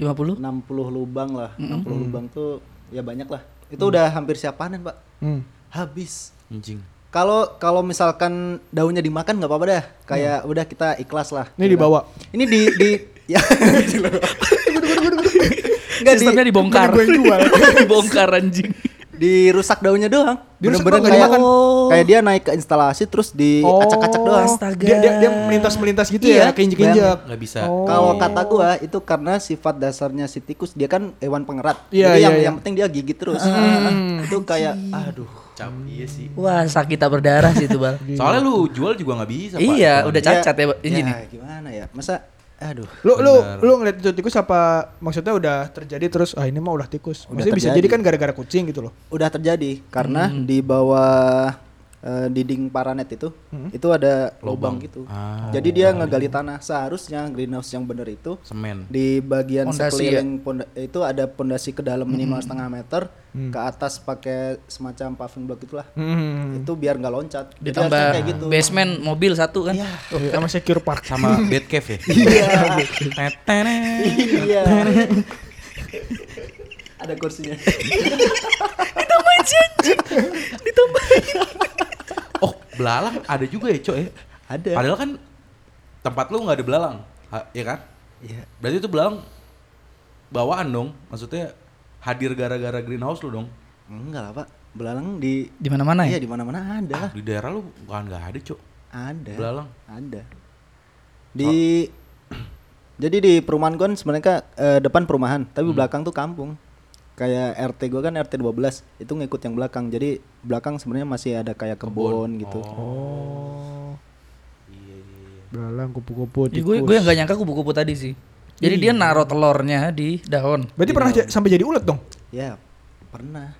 [SPEAKER 4] 50
[SPEAKER 3] 60 lubang lah.
[SPEAKER 2] Hmm.
[SPEAKER 3] 60 lubang tuh ya banyak lah. Itu udah hampir siap panen, Pak.
[SPEAKER 1] Hmm.
[SPEAKER 3] Habis.
[SPEAKER 2] Anjing.
[SPEAKER 3] Kalau kalau misalkan daunnya dimakan nggak apa-apa dah. Kayak udah kita ikhlas lah.
[SPEAKER 1] Hmm.
[SPEAKER 3] gitu kan.
[SPEAKER 1] Ini dibawa.
[SPEAKER 3] Ini di di ya. Nggak, di-
[SPEAKER 4] Sistemnya dibongkar.
[SPEAKER 1] gue yang jual.
[SPEAKER 4] dibongkar anjing.
[SPEAKER 3] dirusak daunnya doang.
[SPEAKER 1] Dirusak doang,
[SPEAKER 3] Bener-bener
[SPEAKER 1] nggak
[SPEAKER 3] kayak,
[SPEAKER 1] dimakan.
[SPEAKER 3] kayak dia naik ke instalasi terus diacak-acak doang.
[SPEAKER 1] Oh.
[SPEAKER 4] astaga.
[SPEAKER 1] Dia dia, dia melintas-melintas gitu
[SPEAKER 3] Iya,
[SPEAKER 1] ya, keinjek-injek.
[SPEAKER 2] Gak bisa.
[SPEAKER 1] Oh.
[SPEAKER 3] Kalau kata gua itu karena sifat dasarnya si tikus dia kan hewan pengerat.
[SPEAKER 1] Iya, iya,
[SPEAKER 3] Jadi yang
[SPEAKER 1] iya. Hmm.
[SPEAKER 3] yang penting dia gigit terus. Itu kayak aduh.
[SPEAKER 2] Cap, iya sih.
[SPEAKER 4] Wah, sakit tak berdarah sih itu, Bal.
[SPEAKER 2] Soalnya lu jual juga nggak bisa. Pak.
[SPEAKER 4] iya, udah
[SPEAKER 3] Ya,
[SPEAKER 4] cacat ya, Pak.
[SPEAKER 3] ya,
[SPEAKER 4] Ini nih.
[SPEAKER 3] gimana ya? Masa aduh.
[SPEAKER 1] Lu lu lu ngeliat itu tikus apa maksudnya udah terjadi terus ah ini mah udah tikus.
[SPEAKER 3] Udah
[SPEAKER 1] Maksudnya bisa
[SPEAKER 3] terjadi.
[SPEAKER 1] jadi kan gara-gara kucing gitu loh.
[SPEAKER 3] Udah terjadi karena di bawah eh, dinding paranet itu itu ada lubang, gitu.
[SPEAKER 2] Ah.
[SPEAKER 3] Jadi dia ngegali tanah. Seharusnya greenhouse yang bener itu
[SPEAKER 2] Semen.
[SPEAKER 3] di bagian
[SPEAKER 4] Pondasi ya?
[SPEAKER 3] sekeliling ponda- itu ada pondasi ke dalam minimal setengah meter, ke atas pakai semacam paving block itulah.
[SPEAKER 1] Hmm.
[SPEAKER 3] itu biar nggak loncat Jadi
[SPEAKER 4] Ditambah
[SPEAKER 3] harusnya kayak gitu
[SPEAKER 4] basement mobil satu kan.
[SPEAKER 1] Oh, Sama secure park.
[SPEAKER 2] Sama bed cave ya. Iya.
[SPEAKER 3] iya ada kursinya
[SPEAKER 2] Oh belalang ada juga ya cok ya.
[SPEAKER 3] ada
[SPEAKER 2] Padahal kan tempat lu nggak ada belalang, Ha- ya kan?
[SPEAKER 3] Iya.
[SPEAKER 2] Berarti itu belalang bawaan dong. Maksudnya hadir gara-gara greenhouse lu dong.
[SPEAKER 3] enggak lah pak belalang di
[SPEAKER 4] Di mana-mana
[SPEAKER 3] iya
[SPEAKER 4] ya?
[SPEAKER 3] di mana mana ada
[SPEAKER 2] Ah,
[SPEAKER 3] lah
[SPEAKER 2] di daerah lu kan nggak ada cok.
[SPEAKER 3] ada
[SPEAKER 2] Belalang.
[SPEAKER 3] ada di jadi di perumahan gua kan sebenarnya Kak, eh, depan perumahan tapi belakang tuh kampung kayak RT gua kan RT 12 itu ngikut yang belakang jadi belakang sebenarnya masih ada kayak kebun, gitu
[SPEAKER 1] Oh. Belalang iya. kupu-kupu
[SPEAKER 4] Ya,
[SPEAKER 1] tikus.
[SPEAKER 4] gue gue yang gak nyangka kupu-kupu tadi sih. Jadi dia naruh telurnya di daun.
[SPEAKER 1] Berarti pernah ja- sampai jadi ulet dong?
[SPEAKER 3] Ya, pernah.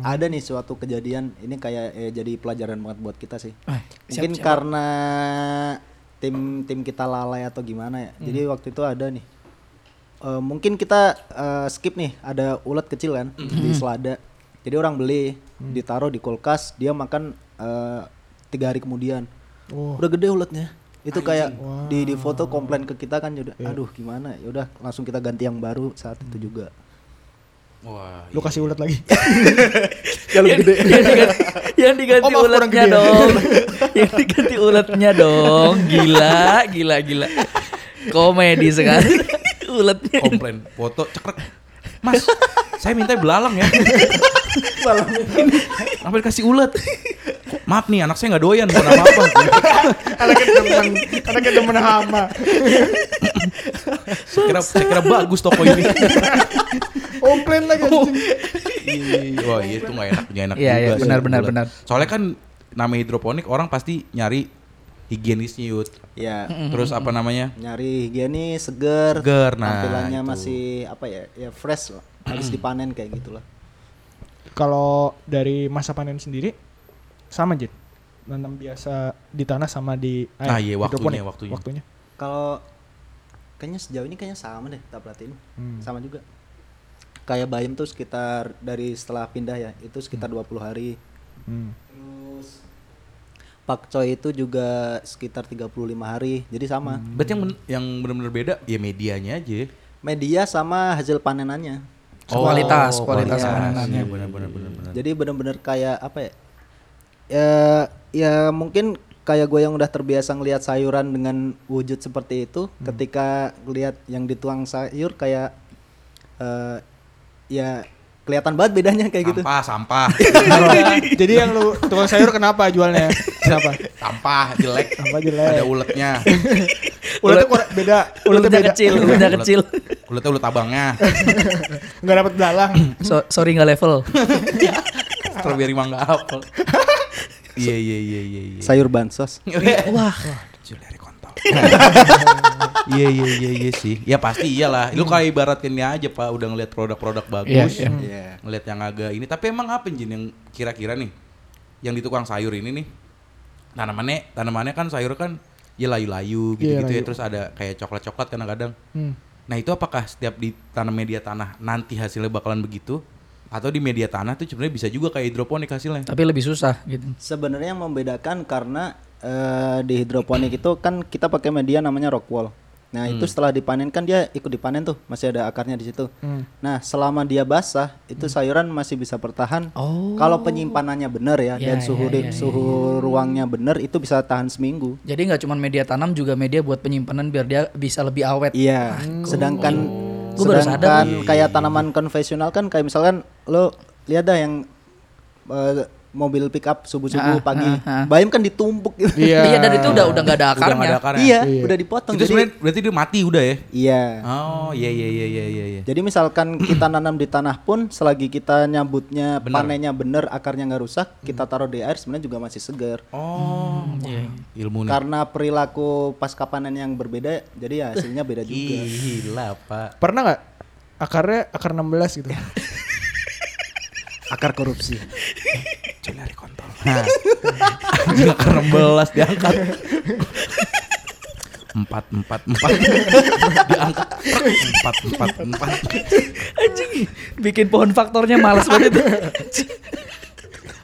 [SPEAKER 3] Ada nih suatu kejadian, ini kayak eh, jadi pelajaran banget buat kita sih.
[SPEAKER 4] Ah,
[SPEAKER 3] Mungkin karena tim tim kita lalai atau gimana ya. Jadi waktu itu ada nih. Eh, mungkin kita eh, skip nih, ada ulat kecil kan di selada. Jadi orang beli, ditaruh di kulkas, dia makan eh, tiga hari kemudian.
[SPEAKER 1] Oh.
[SPEAKER 3] Udah gede ulatnya. Itu kayak di di foto komplain ke kita kan yaudah, aduh gimana? Ya udah langsung kita ganti yang baru saat itu juga.
[SPEAKER 2] Wah.
[SPEAKER 1] Lu kasih ulet lagi.
[SPEAKER 3] Kalau gede.
[SPEAKER 4] yang diganti, yang diganti
[SPEAKER 1] Oh, maaf, kurang
[SPEAKER 4] ulatnya
[SPEAKER 1] gede.
[SPEAKER 4] dong. yang diganti ulatnya dong. Gila, gila, gila. Komedi sekali. ulatnya.
[SPEAKER 2] komplain foto cekrek mas saya minta belalang ya belalang kasih ulet Kok maaf nih anak saya nggak doyan bukan apa-apa.
[SPEAKER 1] Anaknya demen, anaknya demen hama.
[SPEAKER 2] saya, kira, saya kira bagus toko ini.
[SPEAKER 1] Komplain lagi. anjing.
[SPEAKER 2] Iya, Wah iya, itu nggak enak, nggak enak
[SPEAKER 4] Iya,
[SPEAKER 2] juga.
[SPEAKER 4] iya,
[SPEAKER 2] sih,
[SPEAKER 4] benar,
[SPEAKER 2] bulat.
[SPEAKER 4] benar, benar.
[SPEAKER 2] Soalnya kan nama hidroponik orang pasti nyari higienisnya yud.
[SPEAKER 3] Ya,
[SPEAKER 2] Terus apa namanya?
[SPEAKER 3] nyari higienis, seger.
[SPEAKER 2] Seger, nah,
[SPEAKER 3] Tampilannya
[SPEAKER 2] itu.
[SPEAKER 3] masih apa ya? Ya fresh loh. Habis dipanen kayak gitulah.
[SPEAKER 1] Kalau dari masa panen sendiri sama Jin. Nanam biasa di tanah sama di air.
[SPEAKER 2] Ah, iya, waktunya,
[SPEAKER 1] hidroponik.
[SPEAKER 2] waktunya.
[SPEAKER 3] Kalau kayaknya sejauh ini kayaknya sama deh kita perhatiin.
[SPEAKER 1] Hmm.
[SPEAKER 3] Sama juga. Kayak bayam tuh sekitar dari setelah pindah ya, itu sekitar 20 hari.
[SPEAKER 1] Hmm.
[SPEAKER 3] Terus pakcoy itu juga sekitar 35 hari. Jadi sama.
[SPEAKER 2] Berarti yang ben- yang benar-benar beda ya medianya aja.
[SPEAKER 3] Media sama hasil panenannya.
[SPEAKER 4] Oh, Kualitas,
[SPEAKER 2] oh,
[SPEAKER 4] kualitas panenannya.
[SPEAKER 2] panenannya. Benar-benar benar-benar.
[SPEAKER 3] Jadi bener-bener kayak apa ya? Ya, ya mungkin kayak gue yang udah terbiasa ngelihat sayuran dengan wujud seperti itu,
[SPEAKER 2] Hmm.
[SPEAKER 3] ketika ngelihat yang dituang sayur kayak eh, ya kelihatan banget bedanya kayak gitu.
[SPEAKER 2] Sampah, sampah,
[SPEAKER 1] Jadi yang lu tukang sayur kenapa jualnya? Kenapa?
[SPEAKER 2] sampah jelek.
[SPEAKER 1] Sampah jelek.
[SPEAKER 2] Ada uletnya.
[SPEAKER 1] Ulatnya kurang beda. Ulatnya
[SPEAKER 4] Udah
[SPEAKER 1] beda.
[SPEAKER 4] kecil, udah
[SPEAKER 2] Ulet-
[SPEAKER 4] kecil.
[SPEAKER 2] Uletnya ulet abangnya.
[SPEAKER 1] Enggak dapat belalang.
[SPEAKER 4] So- sorry nggak level.
[SPEAKER 2] Strawberry mangga apel. Iya iya iya iya iya.
[SPEAKER 3] Sayur bansos.
[SPEAKER 4] Wah,
[SPEAKER 2] Juliari kontol. Iya iya iya iya sih. Ya pasti iyalah. Lu kayak ibaratinnya aja Pak udah ngelihat produk-produk bagus.
[SPEAKER 4] Iya,
[SPEAKER 2] Ngelihat yang agak ini tapi emang apa Jin yang kira-kira nih yang di tukang sayur ini nih tanamannya tanamannya kan sayur kan ya layu-layu
[SPEAKER 1] Iya,
[SPEAKER 2] gitu-gitu ya
[SPEAKER 1] layu.
[SPEAKER 2] terus ada kayak coklat-coklat kadang-kadang.
[SPEAKER 1] Hmm.
[SPEAKER 2] Nah, itu apakah setiap ditanam media tanah nanti hasilnya bakalan begitu atau di media tanah tuh sebenarnya bisa juga kayak hidroponik hasilnya?
[SPEAKER 4] tapi lebih susah gitu.
[SPEAKER 3] Sebenarnya yang membedakan karena eh, di hidroponik itu kan kita pakai media namanya rock wall. Nah, itu
[SPEAKER 2] Hmm.
[SPEAKER 3] setelah dipanen kan dia ikut dipanen tuh, masih ada akarnya di situ.
[SPEAKER 2] Hmm.
[SPEAKER 3] Nah, selama dia basah, itu sayuran masih bisa bertahan.
[SPEAKER 4] Oh.
[SPEAKER 3] Kalau penyimpanannya benar ya,
[SPEAKER 4] Ya,
[SPEAKER 3] dan
[SPEAKER 4] ya,
[SPEAKER 3] suhu di- suhu ruangnya benar, itu bisa tahan seminggu.
[SPEAKER 4] Jadi nggak cuma media tanam juga media buat penyimpanan biar dia bisa lebih awet.
[SPEAKER 3] Iya. Sedangkan
[SPEAKER 4] Gua baru sadar
[SPEAKER 3] sedangkan kayak tanaman konvensional kan kayak misalkan lo lihat dah yang eh, mobil pick
[SPEAKER 4] Ah,
[SPEAKER 3] up subuh-subuh pagi. Bayam kan ditumpuk gitu.
[SPEAKER 1] Iya.
[SPEAKER 4] Iya, dan itu udah udah nggak ada
[SPEAKER 2] Udah nggak
[SPEAKER 4] akarnya.
[SPEAKER 2] ada akarnya.
[SPEAKER 3] iya, udah dipotong.
[SPEAKER 2] Itu
[SPEAKER 3] jadi
[SPEAKER 2] sebenarnya berarti dia mati udah ya?
[SPEAKER 3] iya. Hmm.
[SPEAKER 2] Oh, iya iya iya iya iya iya.
[SPEAKER 3] Jadi misalkan kita nanam di tanah pun selagi kita nyambutnya panennya bener, akarnya nggak rusak, kita
[SPEAKER 2] Hmm.
[SPEAKER 3] taruh di air sebenarnya juga masih segar.
[SPEAKER 2] Oh,
[SPEAKER 4] Iya.
[SPEAKER 2] ilmu nih.
[SPEAKER 3] Karena perilaku pasca panen yang berbeda, jadi ya hasilnya
[SPEAKER 2] Iya.
[SPEAKER 3] beda juga.
[SPEAKER 2] Gila, Pak.
[SPEAKER 1] Pernah nggak akarnya akar 16 gitu?
[SPEAKER 3] Akar korupsi.
[SPEAKER 2] Culari kontol. Enggak karena Nah. belas diangkat. Empat, empat, empat. diangkat. Empat, empat, empat.
[SPEAKER 4] Anjing, bikin pohon faktornya malas banget itu.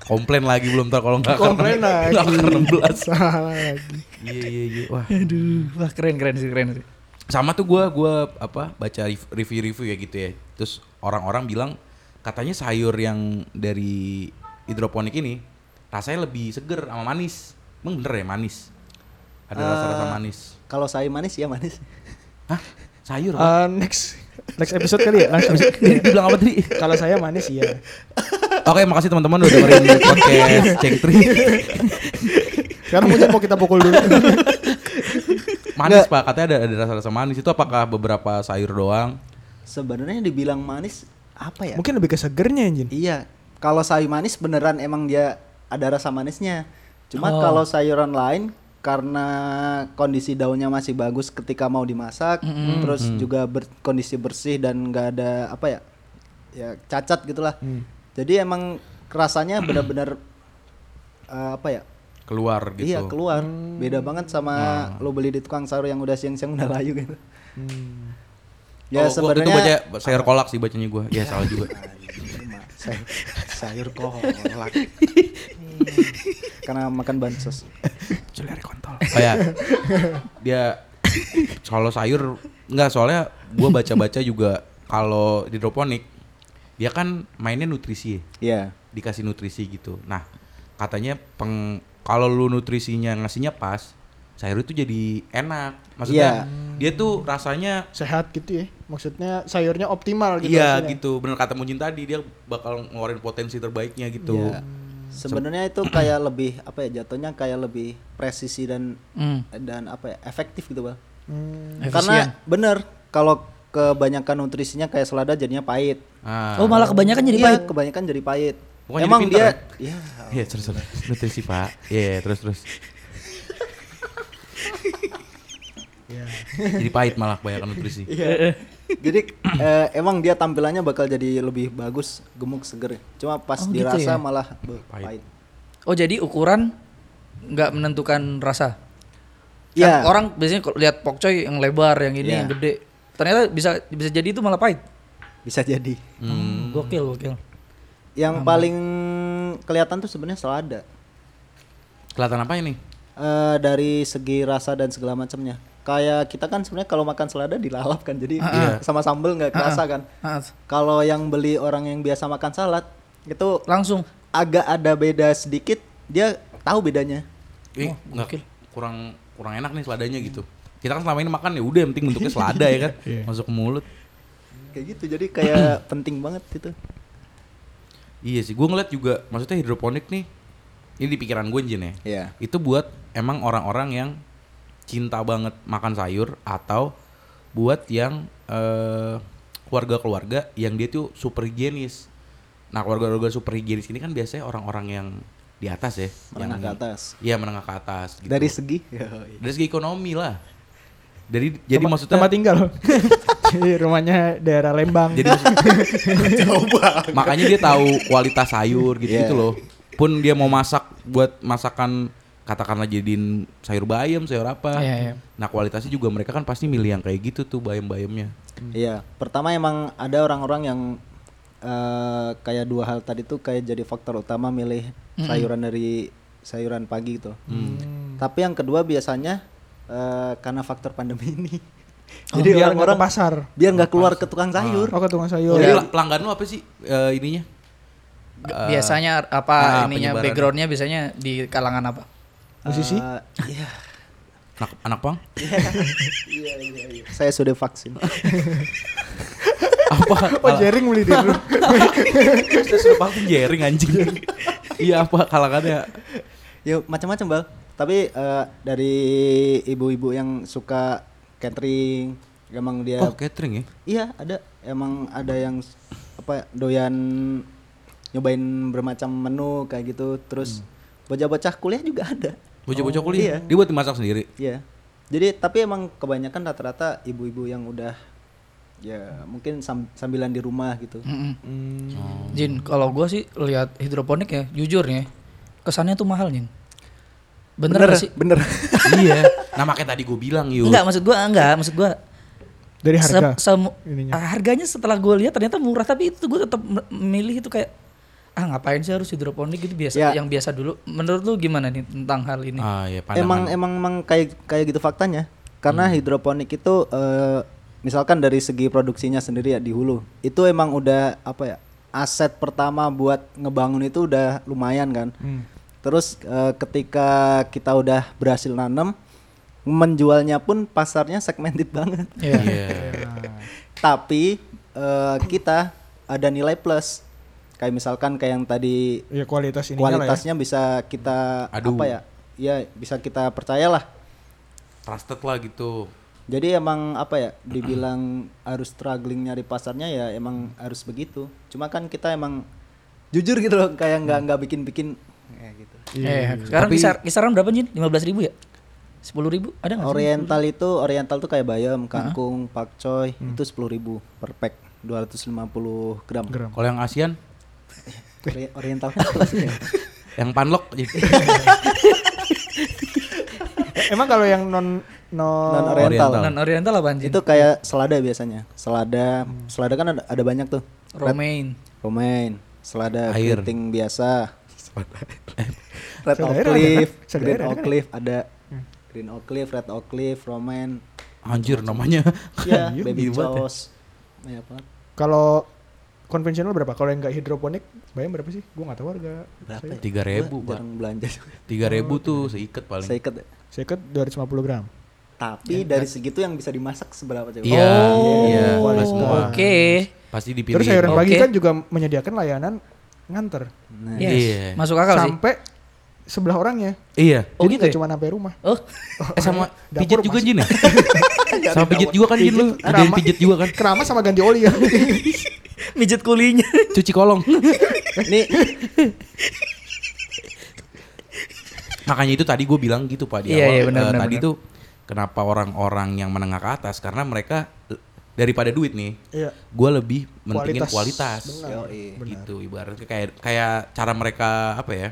[SPEAKER 2] Komplain lagi belum ntar kalau nggak
[SPEAKER 1] Komplain lagi.
[SPEAKER 2] Nggak karena belas.
[SPEAKER 1] Salah lagi.
[SPEAKER 2] Iya, iya, iya. Wah,
[SPEAKER 4] Aduh, wah keren keren sih keren sih.
[SPEAKER 2] sama tuh gua gua apa baca rev- review-review ya gitu ya terus orang-orang bilang katanya sayur yang dari hidroponik ini rasanya lebih seger sama manis emang bener ya manis ada rasa-rasa
[SPEAKER 1] Eh,
[SPEAKER 2] manis
[SPEAKER 3] Kalau saya manis ya manis.
[SPEAKER 2] hah Oh, sayur apa?
[SPEAKER 1] Eh, next next episode kali ya langsung.
[SPEAKER 2] bilang apa tadi
[SPEAKER 1] Kalau saya manis iya.
[SPEAKER 2] oke makasih teman-teman udah dengerin podcast ceng tri
[SPEAKER 1] Sekarang hujan mau kita pukul dulu.
[SPEAKER 2] manis pak katanya ada ada rasa-rasa manis itu apakah beberapa sayur doang
[SPEAKER 3] Sebenarnya dibilang manis apa ya?
[SPEAKER 1] Mungkin lebih ke segernya anjing.
[SPEAKER 3] Iya. Kalau sayur manis beneran emang dia ada rasa manisnya. Cuma kalau sayuran lain karena kondisi daunnya masih bagus ketika mau dimasak, terus juga ber- kondisi bersih dan nggak ada apa ya, ya cacat gitulah.
[SPEAKER 1] Mm. Hmm.
[SPEAKER 3] Jadi emang rasanya benar-benar eh, apa ya?
[SPEAKER 2] keluar gitu Ah.
[SPEAKER 3] Iya keluar. Beda
[SPEAKER 4] Hmm.
[SPEAKER 3] banget sama lo beli di tukang sayur yang udah siang-siang udah layu gitu.
[SPEAKER 2] Oh,
[SPEAKER 3] Ya
[SPEAKER 2] gua waktu itu baca
[SPEAKER 3] sebenarnya
[SPEAKER 2] sayur kolak sih bacanya gua ya salah juga
[SPEAKER 3] sayur, sayur kolak karena makan bansos
[SPEAKER 2] Juliari kontol. Oh ya. Dia kalau sayur enggak soalnya gua baca-baca juga kalau di hidroponik dia kan mainnya nutrisi, ya,
[SPEAKER 3] ya
[SPEAKER 2] dikasih nutrisi gitu. Nah, katanya peng kalau lu nutrisinya ngasihnya pas, sayur itu jadi enak. Maksudnya
[SPEAKER 3] Iya.
[SPEAKER 2] dia tuh rasanya
[SPEAKER 1] Sehat gitu ya. Maksudnya sayurnya optimal gitu.
[SPEAKER 2] iya
[SPEAKER 1] rasanya.
[SPEAKER 2] gitu. Bener kata Mujin tadi dia bakal ngeluarin potensi terbaiknya gitu.
[SPEAKER 3] Iya.
[SPEAKER 4] Hmm.
[SPEAKER 3] Sebenarnya itu kayak lebih apa ya jatuhnya kayak lebih presisi dan
[SPEAKER 4] Hmm.
[SPEAKER 3] dan apa ya efektif gitu bal.
[SPEAKER 1] Hmm.
[SPEAKER 4] Efisien.
[SPEAKER 3] Karena bener kalau kebanyakan nutrisinya kayak selada jadinya pahit.
[SPEAKER 2] Ah.
[SPEAKER 4] Oh malah kebanyakan jadi
[SPEAKER 3] Iya,
[SPEAKER 4] pahit.
[SPEAKER 3] Kebanyakan jadi pahit.
[SPEAKER 2] Pokoknya
[SPEAKER 3] Emang
[SPEAKER 2] jadi pinter
[SPEAKER 3] dia, ya.
[SPEAKER 2] Iya terus terus nutrisi pak. Iya iya, terus terus. Jadi pahit malah kebanyakan nutrisi.
[SPEAKER 3] jadi eh, emang dia tampilannya bakal jadi lebih bagus, gemuk, seger. ya. Cuma pas
[SPEAKER 4] Oh, gitu
[SPEAKER 3] dirasa
[SPEAKER 4] ya?
[SPEAKER 3] malah beuh,
[SPEAKER 2] Pahit.
[SPEAKER 3] pahit.
[SPEAKER 4] Oh jadi ukuran nggak menentukan rasa. Kan
[SPEAKER 3] Iya.
[SPEAKER 4] Orang biasanya kalau lihat pokcoy yang lebar, yang ini
[SPEAKER 3] Iya.
[SPEAKER 4] yang gede. Ternyata bisa bisa jadi itu malah pahit.
[SPEAKER 3] Bisa jadi.
[SPEAKER 4] Hmm. Gokil gokil.
[SPEAKER 3] Yang paling kelihatan tuh sebenarnya selada.
[SPEAKER 2] Kelihatan apa ini?
[SPEAKER 3] Eh, dari segi rasa dan segala macamnya. Kayak kita kan sebenarnya kalau makan selada dilalap kan, jadi sama sambel nggak kerasa kan.
[SPEAKER 4] Ah,
[SPEAKER 3] Kalau yang beli orang yang biasa makan salad itu
[SPEAKER 4] langsung.
[SPEAKER 3] agak ada beda sedikit, dia tahu bedanya.
[SPEAKER 2] Ih, nggak- kurang kurang enak nih seladanya gitu. Kita kan selama ini makan ya udah yang penting bentuknya selada ya kan. Masuk ke mulut.
[SPEAKER 3] Kayak gitu, jadi kayak penting banget itu.
[SPEAKER 2] Iya sih, gue ngeliat juga maksudnya hidroponik nih. Ini di pikiran gue Jin ya.
[SPEAKER 3] Iya.
[SPEAKER 2] Itu buat emang orang-orang yang cinta banget makan sayur atau buat yang eh, keluarga-keluarga yang dia tuh super higienis. Nah, keluarga-keluarga super higienis ini kan biasanya orang-orang yang di atas ya,
[SPEAKER 3] Menengah
[SPEAKER 2] yang
[SPEAKER 3] ke atas.
[SPEAKER 2] Iya, menengah ke atas gitu.
[SPEAKER 3] Dari segi
[SPEAKER 2] Dari segi ekonomi lah. Dari jadi
[SPEAKER 1] Tempat-
[SPEAKER 2] maksudnya
[SPEAKER 1] tempat tinggal. Jadi rumahnya daerah Lembang.
[SPEAKER 2] jadi makanya dia tahu kualitas sayur gitu gitu
[SPEAKER 3] Yeah.
[SPEAKER 2] loh pun dia mau masak buat masakan katakanlah jadiin sayur bayam sayur apa
[SPEAKER 4] Iya, iya.
[SPEAKER 2] nah kualitasnya juga mereka kan pasti milih yang kayak gitu tuh bayam bayamnya
[SPEAKER 1] Hmm.
[SPEAKER 3] Iya, pertama emang ada orang-orang yang eh, kayak dua hal tadi tuh kayak jadi faktor utama milih
[SPEAKER 1] Hmm.
[SPEAKER 3] sayuran dari sayuran pagi gitu. Tapi yang kedua biasanya eh, karena faktor pandemi ini.
[SPEAKER 1] Oh,
[SPEAKER 3] jadi
[SPEAKER 1] biar nggak
[SPEAKER 3] orang-orang
[SPEAKER 1] ke pasar.
[SPEAKER 3] biar nggak keluar ke tukang sayur.
[SPEAKER 1] Oh ke tukang sayur.
[SPEAKER 2] jadi la- pelanggan lu apa sih eh, ininya Eh,
[SPEAKER 4] biasanya
[SPEAKER 2] ah,
[SPEAKER 4] apa ininya
[SPEAKER 2] penyebaran.
[SPEAKER 4] backgroundnya biasanya di kalangan apa?
[SPEAKER 1] Ah, Musisi?
[SPEAKER 3] Eh, Iya,
[SPEAKER 2] anak anak pang
[SPEAKER 3] saya sudah vaksin.
[SPEAKER 2] apa
[SPEAKER 1] Oh jaring beli di dulu.
[SPEAKER 2] sudah pasti jering anjing iya apa kalangannya
[SPEAKER 3] ya macam-macam bal. Tapi eh, dari ibu-ibu yang suka catering, emang dia
[SPEAKER 2] oh catering ya
[SPEAKER 3] Iya ada emang ada yang s- apa doyan nyobain bermacam menu kayak gitu terus bocah-bocah kuliah juga ada
[SPEAKER 2] bocah-bocah
[SPEAKER 3] Oh,
[SPEAKER 2] kuliah dia buat dimasak sendiri
[SPEAKER 3] Iya jadi tapi emang kebanyakan rata-rata ibu-ibu yang udah ya mungkin sam- sambilan di rumah gitu
[SPEAKER 4] Mm-mm.
[SPEAKER 1] Hmm.
[SPEAKER 4] Jin, kalau gua sih lihat hidroponik ya, jujur nih, kesannya tuh mahal Jin. Bener, nggak sih?
[SPEAKER 3] bener
[SPEAKER 2] iya nah makanya tadi gue bilang yuk
[SPEAKER 4] Enggak, maksud gua enggak, maksud gua
[SPEAKER 1] Dari
[SPEAKER 4] se-
[SPEAKER 1] harga.
[SPEAKER 4] semu-
[SPEAKER 1] ininya.
[SPEAKER 4] ah, harganya setelah gua lihat ternyata murah tapi itu gua tetap me- milih itu kayak ah ngapain sih harus hidroponik gitu biasa
[SPEAKER 3] Ya.
[SPEAKER 4] yang biasa dulu. Menurut lu gimana nih tentang hal ini?
[SPEAKER 2] ah ya
[SPEAKER 3] emang
[SPEAKER 2] pandangan Hmm.
[SPEAKER 3] emang emang kayak kayak gitu faktanya karena hidroponik itu eh, misalkan dari segi produksinya sendiri ya di hulu itu emang udah apa ya aset pertama buat ngebangun itu udah lumayan kan
[SPEAKER 1] Hmm.
[SPEAKER 3] terus eh, ketika kita udah berhasil nanam menjualnya pun pasarnya segmented banget
[SPEAKER 4] Iya.
[SPEAKER 2] Iya.
[SPEAKER 3] tapi eh, kita ada nilai plus kayak misalkan kayak yang tadi
[SPEAKER 1] Ya kualitas ini
[SPEAKER 3] kualitasnya bisa kita
[SPEAKER 2] Aduh.
[SPEAKER 3] apa ya ya bisa kita percayalah
[SPEAKER 2] trusted lah gitu
[SPEAKER 3] Jadi emang apa ya dibilang harus struggling nyari pasarnya ya emang harus begitu. Cuma kan kita emang jujur gitu loh kayak nggak nggak bikin-bikin kayak gitu.
[SPEAKER 4] Iya, Sekarang kisar- kisaran berapa Jin? 15 ribu ya? 10 ribu? Ada nggak? sih?
[SPEAKER 3] Oriental itu oriental tuh kayak bayam, kangkung, pakcoy
[SPEAKER 4] Hmm.
[SPEAKER 3] itu 10.000 per pack 250 gram.
[SPEAKER 1] Gram.
[SPEAKER 2] Kalau yang ASEAN,
[SPEAKER 4] Eh.
[SPEAKER 3] Ori- oriental kan apa sih ya?
[SPEAKER 2] yang panlok iya. jadi
[SPEAKER 1] Eh, Emang kalau yang non non
[SPEAKER 3] Non
[SPEAKER 2] Oriental.
[SPEAKER 3] oriental.
[SPEAKER 4] Non Oh, Nah, oriental apa Jin?
[SPEAKER 3] Itu kayak selada biasanya. Selada,
[SPEAKER 4] Hmm.
[SPEAKER 3] selada kan ada, ada banyak tuh.
[SPEAKER 4] romaine.
[SPEAKER 3] Romain, selada
[SPEAKER 2] Air.
[SPEAKER 3] keriting biasa. Red
[SPEAKER 1] Selada
[SPEAKER 3] oak
[SPEAKER 1] ada
[SPEAKER 3] cliff,
[SPEAKER 1] kan? Selada
[SPEAKER 3] green
[SPEAKER 1] ada
[SPEAKER 3] oak cliff ada green oak cliff, red oak cliff, romain,
[SPEAKER 2] anjir namanya.
[SPEAKER 3] ya
[SPEAKER 2] Iya,
[SPEAKER 3] baby
[SPEAKER 2] gila banget ya.
[SPEAKER 3] jaws. Banyak banget.
[SPEAKER 1] Kalau konvensional berapa? Kalau yang nggak hidroponik, bayam berapa sih? Gua nggak tahu harga.
[SPEAKER 3] Berapa ya?
[SPEAKER 2] Tiga ribu
[SPEAKER 3] Gua
[SPEAKER 2] pak,
[SPEAKER 3] jarang belanja. juga.
[SPEAKER 2] tiga ribu tuh seikat paling.
[SPEAKER 3] Saya ikut.
[SPEAKER 1] Saya ikut 250 gram.
[SPEAKER 3] Tapi dari segitu yang bisa dimasak seberapa coba?
[SPEAKER 2] Iya, iya,
[SPEAKER 1] Oh,
[SPEAKER 2] nggak semua.
[SPEAKER 4] Oke.
[SPEAKER 2] Pasti dipilih. Oh,
[SPEAKER 1] Terus sayuran
[SPEAKER 4] Oke.
[SPEAKER 1] pagi kan juga menyediakan layanan nganter
[SPEAKER 3] Nah,
[SPEAKER 4] Yes.
[SPEAKER 2] Iya.
[SPEAKER 4] Masuk akal sih.
[SPEAKER 1] sampai sebelah orangnya.
[SPEAKER 2] Iya.
[SPEAKER 4] Oh,
[SPEAKER 1] Jadi
[SPEAKER 4] gitu
[SPEAKER 1] nggak
[SPEAKER 4] ya?
[SPEAKER 1] cuma sampai rumah.
[SPEAKER 4] Oh,
[SPEAKER 2] Eh, sama
[SPEAKER 1] Dapur
[SPEAKER 2] pijit juga
[SPEAKER 1] masih-
[SPEAKER 2] Jin ya? sama pijit juga kan Jin lu?
[SPEAKER 1] Pijit.
[SPEAKER 2] Ada yang
[SPEAKER 1] Kenapa?
[SPEAKER 2] pijit juga kan?
[SPEAKER 1] Kerama sama ganti oli ya.
[SPEAKER 4] mijit kulinya.
[SPEAKER 2] Cuci kolong.
[SPEAKER 3] Ini
[SPEAKER 2] Makanya itu tadi gue bilang gitu Pak di
[SPEAKER 4] Iya,
[SPEAKER 2] awal.
[SPEAKER 4] iya, benar,
[SPEAKER 2] eh,
[SPEAKER 4] benar,
[SPEAKER 2] tadi
[SPEAKER 4] benar.
[SPEAKER 2] tuh kenapa orang-orang yang menengah ke atas karena mereka eh, daripada duit nih,
[SPEAKER 1] Iya.
[SPEAKER 2] gue lebih mentingin kualitas.
[SPEAKER 1] Benar.
[SPEAKER 3] Yoi.
[SPEAKER 1] benar.
[SPEAKER 2] Gitu ibaratnya kayak kayak cara mereka apa ya?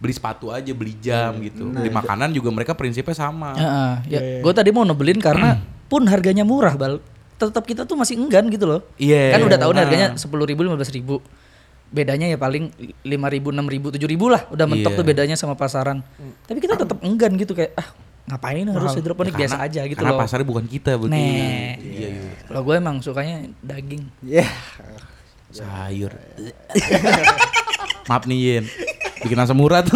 [SPEAKER 2] Beli sepatu aja, beli jam gitu. Beli makanan juga mereka prinsipnya sama.
[SPEAKER 4] Heeh, ya,
[SPEAKER 1] Iya, iya.
[SPEAKER 4] gue tadi mau nebelin karena pun harganya murah bal. Tetap kita tuh masih enggan gitu loh.
[SPEAKER 2] Iya.
[SPEAKER 4] Kan udah tahu nih
[SPEAKER 2] Nah.
[SPEAKER 4] harganya sepuluh ribu, lima ribu. Bedanya ya paling lima ribu, enam ribu, tujuh ribu lah. Udah mentok
[SPEAKER 2] Iya.
[SPEAKER 4] tuh bedanya sama pasaran. Tapi kita tetap enggan gitu kayak ah ngapain harus hidroponik
[SPEAKER 2] Ya, Karena-
[SPEAKER 4] biasa aja gitu
[SPEAKER 2] karena
[SPEAKER 4] loh. Nah.
[SPEAKER 2] pasarnya bukan kita betul.
[SPEAKER 4] Nih.
[SPEAKER 2] Iya, iya.
[SPEAKER 4] Kalau gue emang sukanya daging.
[SPEAKER 3] ya
[SPEAKER 2] Sayur. Maaf nih Yin. Bikin asam urat.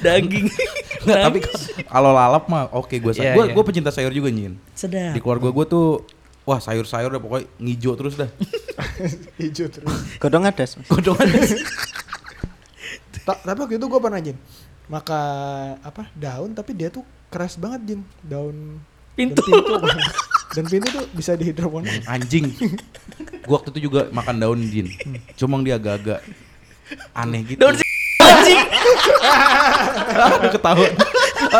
[SPEAKER 4] Daging.
[SPEAKER 2] Nggak, tapi kalau lalap mah oke gue
[SPEAKER 4] Iya,
[SPEAKER 2] gue
[SPEAKER 4] iya.
[SPEAKER 2] gue pecinta sayur juga Yin.
[SPEAKER 4] sedap.
[SPEAKER 2] Di keluarga gue tuh wah sayur-sayur dah pokoknya ngijo terus dah.
[SPEAKER 1] Hijau terus.
[SPEAKER 3] godong adas.
[SPEAKER 1] Ta- tapi waktu itu gue pernah Jin maka apa daun tapi dia tuh keras banget Jin daun
[SPEAKER 4] Pintu.
[SPEAKER 1] dan pintu, apa? dan pintu tuh bisa di hidroponik
[SPEAKER 2] Anjing. Gue waktu itu juga makan daun Jin. Cuma dia agak-agak aneh gitu.
[SPEAKER 4] Daun Anjing,
[SPEAKER 2] Aduh ketawa.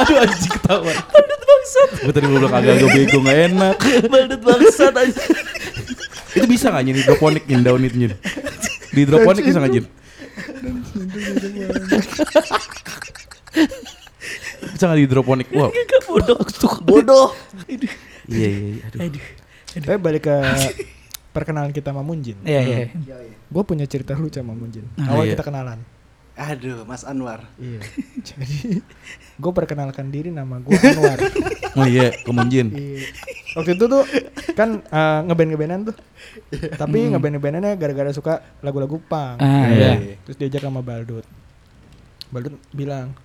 [SPEAKER 2] Aduh anjing ketawa. Gue tadi belum agak-agak bego gak enak.
[SPEAKER 4] badut bangsat anjing.
[SPEAKER 2] Itu bisa gak Jin hidroponik Jin daun itu Jin? Di hidroponik bisa gak Jin? Bisa gak di hidroponik? Wow.
[SPEAKER 4] Bodoh. Bodoh.
[SPEAKER 2] Iya iya iya. Aduh.
[SPEAKER 4] Aduh.
[SPEAKER 1] tapi balik ke perkenalan kita sama Munjin
[SPEAKER 4] Iya, iya.
[SPEAKER 2] Hmm.
[SPEAKER 1] gue punya cerita lucu sama Munjin
[SPEAKER 2] Ah,
[SPEAKER 1] awal
[SPEAKER 2] iya.
[SPEAKER 1] kita kenalan
[SPEAKER 3] Aduh, Mas Anwar.
[SPEAKER 1] iya jadi gue perkenalkan diri nama gue Anwar
[SPEAKER 2] Oh iya, kemunjin.
[SPEAKER 1] Iya. waktu itu tuh kan eh, ngeband ngebandan tuh tapi ngeband ngebandannya gara-gara suka lagu-lagu punk
[SPEAKER 4] Ah,
[SPEAKER 2] iya.
[SPEAKER 1] terus diajak sama Baldut Baldut bilang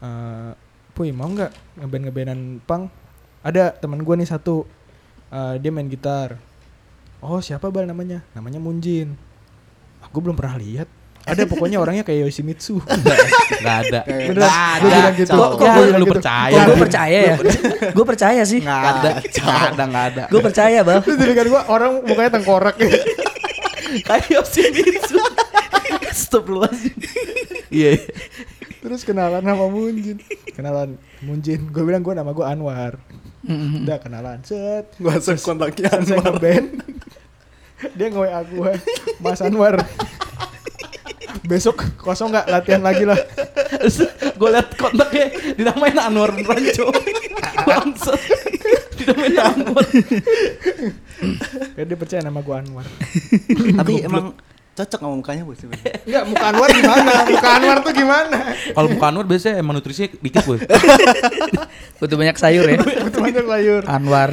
[SPEAKER 1] eh Puy mau nggak ngeband ngebandan punk ada teman gue nih satu eh, dia main gitar oh siapa bal namanya namanya Munjin aku belum pernah lihat ada pokoknya orangnya kayak Yoshimitsu
[SPEAKER 2] Gak ada.
[SPEAKER 3] Kayak-
[SPEAKER 1] Beneran, gue bilang gitu.
[SPEAKER 3] Kacau.
[SPEAKER 4] Kok- kok gue
[SPEAKER 2] lu
[SPEAKER 1] gitu?
[SPEAKER 2] percaya?
[SPEAKER 4] Kok gue percaya ya? gue percaya sih.
[SPEAKER 2] Gak ada. Gak ada, gak ada.
[SPEAKER 4] Gue percaya bang.
[SPEAKER 1] terus jadi gue orang mukanya tengkorak
[SPEAKER 4] Kayak
[SPEAKER 2] gitu.
[SPEAKER 4] optimisme. Stop lu aja.
[SPEAKER 2] Iya. iya.
[SPEAKER 1] terus kenalan sama Munjin kenalan Munjin gue bilang gue nama gue Anwar udah kenalan set
[SPEAKER 3] Gua langsung kontaknya
[SPEAKER 1] saya ngeband dia nge WA gue Mas Anwar besok kosong nggak latihan lagi lah
[SPEAKER 2] Gue liat kontaknya dinamain Anwar Ranco. Bangsat. Dinamain Anwar.
[SPEAKER 1] Kayak dia percaya nama gue Anwar
[SPEAKER 3] Tapi emang cocok sama mukanya, Bu. sebenarnya.
[SPEAKER 1] Enggak, muka Anwar gimana? Muka Anwar tuh gimana?
[SPEAKER 2] Kalau bukan Anwar biasanya emang nutrisinya dikit gue.
[SPEAKER 4] Butuh banyak sayur
[SPEAKER 2] Iya.
[SPEAKER 4] ya.
[SPEAKER 1] Betul aja kelayur
[SPEAKER 4] Anwar.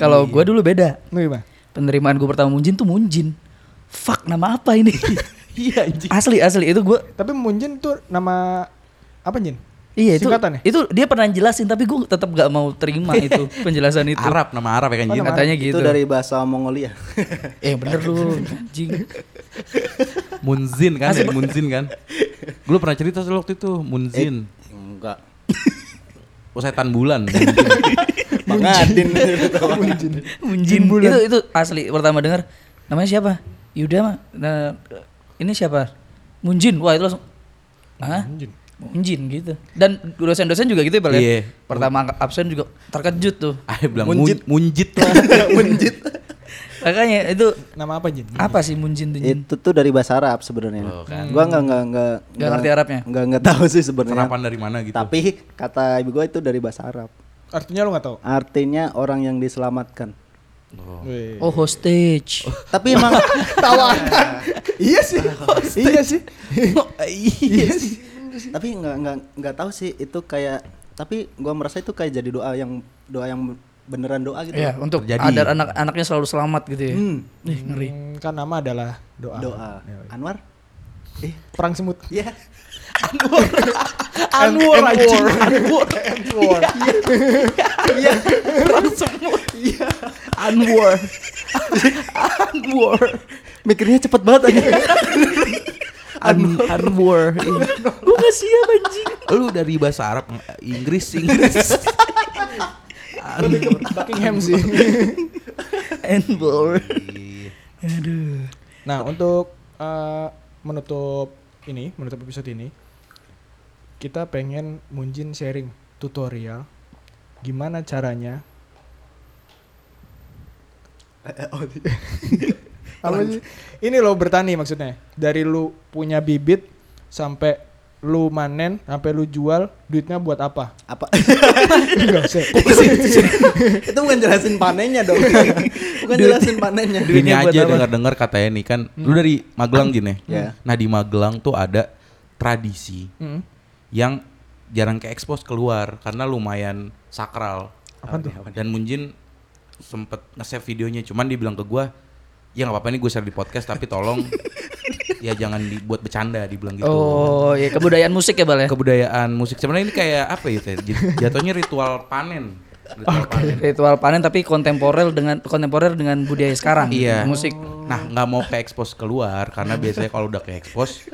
[SPEAKER 4] Kalau gue dulu beda.
[SPEAKER 1] Lu gimana?
[SPEAKER 4] Penerimaan gue pertama Munjin tuh Munjin. Fuck nama apa ini?
[SPEAKER 2] Iya anjing.
[SPEAKER 4] asli asli itu gue.
[SPEAKER 1] Tapi Munjin tuh nama apa Jin?
[SPEAKER 4] Iya itu.
[SPEAKER 1] Singkatan ya?
[SPEAKER 4] Itu dia pernah jelasin tapi gue tetap gak mau terima itu penjelasan itu.
[SPEAKER 2] Iya. Arab, nama Arab ya kan Jin?
[SPEAKER 4] Katanya
[SPEAKER 3] Itu
[SPEAKER 4] gitu.
[SPEAKER 3] dari bahasa Mongolia.
[SPEAKER 4] Eh bener lu anjing.
[SPEAKER 2] Munzin kan, dari Munzin kan. Gue pernah cerita sih waktu itu, Munzin.
[SPEAKER 3] Enggak.
[SPEAKER 2] Oh setan bulan.
[SPEAKER 3] Bang Adin.
[SPEAKER 1] Munjin.
[SPEAKER 4] Munjin itu itu asli pertama dengar namanya siapa Yuda mah nah, ini siapa Munjin wah itu langsung Hah? Munjin gitu dan dosen-dosen juga gitu ya Bal, ya?
[SPEAKER 2] Iya.
[SPEAKER 4] pertama angka- absen juga terkejut tuh
[SPEAKER 2] Ayo bilang
[SPEAKER 3] Munjit.
[SPEAKER 2] munjit, munjit lah.
[SPEAKER 3] Menjit.
[SPEAKER 4] makanya itu
[SPEAKER 1] Nama apa Jin?
[SPEAKER 4] apa sih Munjin tuh Jin?
[SPEAKER 3] Itu tuh dari bahasa Arab sebenarnya.
[SPEAKER 2] Oh, kan.
[SPEAKER 3] Gua enggak enggak enggak
[SPEAKER 4] ngerti Arabnya?
[SPEAKER 3] Enggak enggak tahu sih sebenarnya.
[SPEAKER 2] Serapan dari mana gitu.
[SPEAKER 3] Tapi kata ibu gua itu dari bahasa Arab.
[SPEAKER 1] Artinya lu nggak tahu.
[SPEAKER 3] Artinya orang yang diselamatkan.
[SPEAKER 1] Weh.
[SPEAKER 4] oh hostage
[SPEAKER 3] Tapi emang
[SPEAKER 1] Tawanan. iya sih. iya sih. iya sih.
[SPEAKER 3] tapi nggak nggak nggak tahu sih itu kayak tapi gua merasa itu kayak jadi doa yang doa yang beneran doa gitu.
[SPEAKER 4] ya untuk
[SPEAKER 2] Terjadi.
[SPEAKER 4] agar anak-anaknya selalu selamat gitu ya
[SPEAKER 3] Hmm.
[SPEAKER 4] Ih, ngeri
[SPEAKER 1] Hmm, Kan nama adalah doa. Iya,
[SPEAKER 3] Doa.
[SPEAKER 2] Iya,
[SPEAKER 3] Anwar? Eh,
[SPEAKER 1] Perang semut.
[SPEAKER 3] iya.
[SPEAKER 2] Anwar anjing. Anwar.
[SPEAKER 1] Anwar.
[SPEAKER 2] Iya.
[SPEAKER 3] Iya.
[SPEAKER 2] Anwar. Anwar.
[SPEAKER 3] Mikirnya cepet banget aja.
[SPEAKER 2] Anwar.
[SPEAKER 4] Gue gak siap anjing.
[SPEAKER 2] Lu dari bahasa Arab eh, Inggris Inggris.
[SPEAKER 1] Buckingham sih.
[SPEAKER 4] Anwar. Aduh.
[SPEAKER 1] Nah, untuk eh, menutup ini, menutup episode ini, kita pengen Munjin sharing tutorial gimana caranya. Eh, oh, Apa sih? Ini loh bertani maksudnya. Dari lu punya bibit sampai lu manen, sampai lu jual, duitnya buat apa?
[SPEAKER 3] Apa?
[SPEAKER 1] Enggak usah.
[SPEAKER 3] Itu bukan jelasin panennya dong. bukan jelasin panennya.
[SPEAKER 2] Ini
[SPEAKER 4] Duitnya buat
[SPEAKER 2] aja
[SPEAKER 4] apa?
[SPEAKER 2] dengar-dengar katanya nih kan. Lu dari Magelang Jin ya?
[SPEAKER 3] Iya.
[SPEAKER 2] Nah di Magelang tuh ada tradisi
[SPEAKER 1] Hmm.
[SPEAKER 2] yang jarang ke expose keluar karena lumayan sakral.
[SPEAKER 1] Apa tuh?
[SPEAKER 2] Dan Munjin sempet nge-save videonya, cuman dia bilang ke gua, ya nggak apa-apa nih gue share di podcast tapi tolong ya jangan dibuat bercanda dibilang gitu.
[SPEAKER 4] Oh, ya kebudayaan musik ya,
[SPEAKER 1] eh.
[SPEAKER 4] Bal ya.
[SPEAKER 2] Kebudayaan musik sebenarnya ini kayak apa ya? Teh? Jadi- Jatuhnya ritual panen. Ritual panen.
[SPEAKER 4] Ritual panen tapi kontemporer dengan kontemporer dengan budaya sekarang.
[SPEAKER 2] Iya.
[SPEAKER 4] Musik.
[SPEAKER 2] Nah, nggak mau ke expose keluar karena biasanya kalau udah ke expose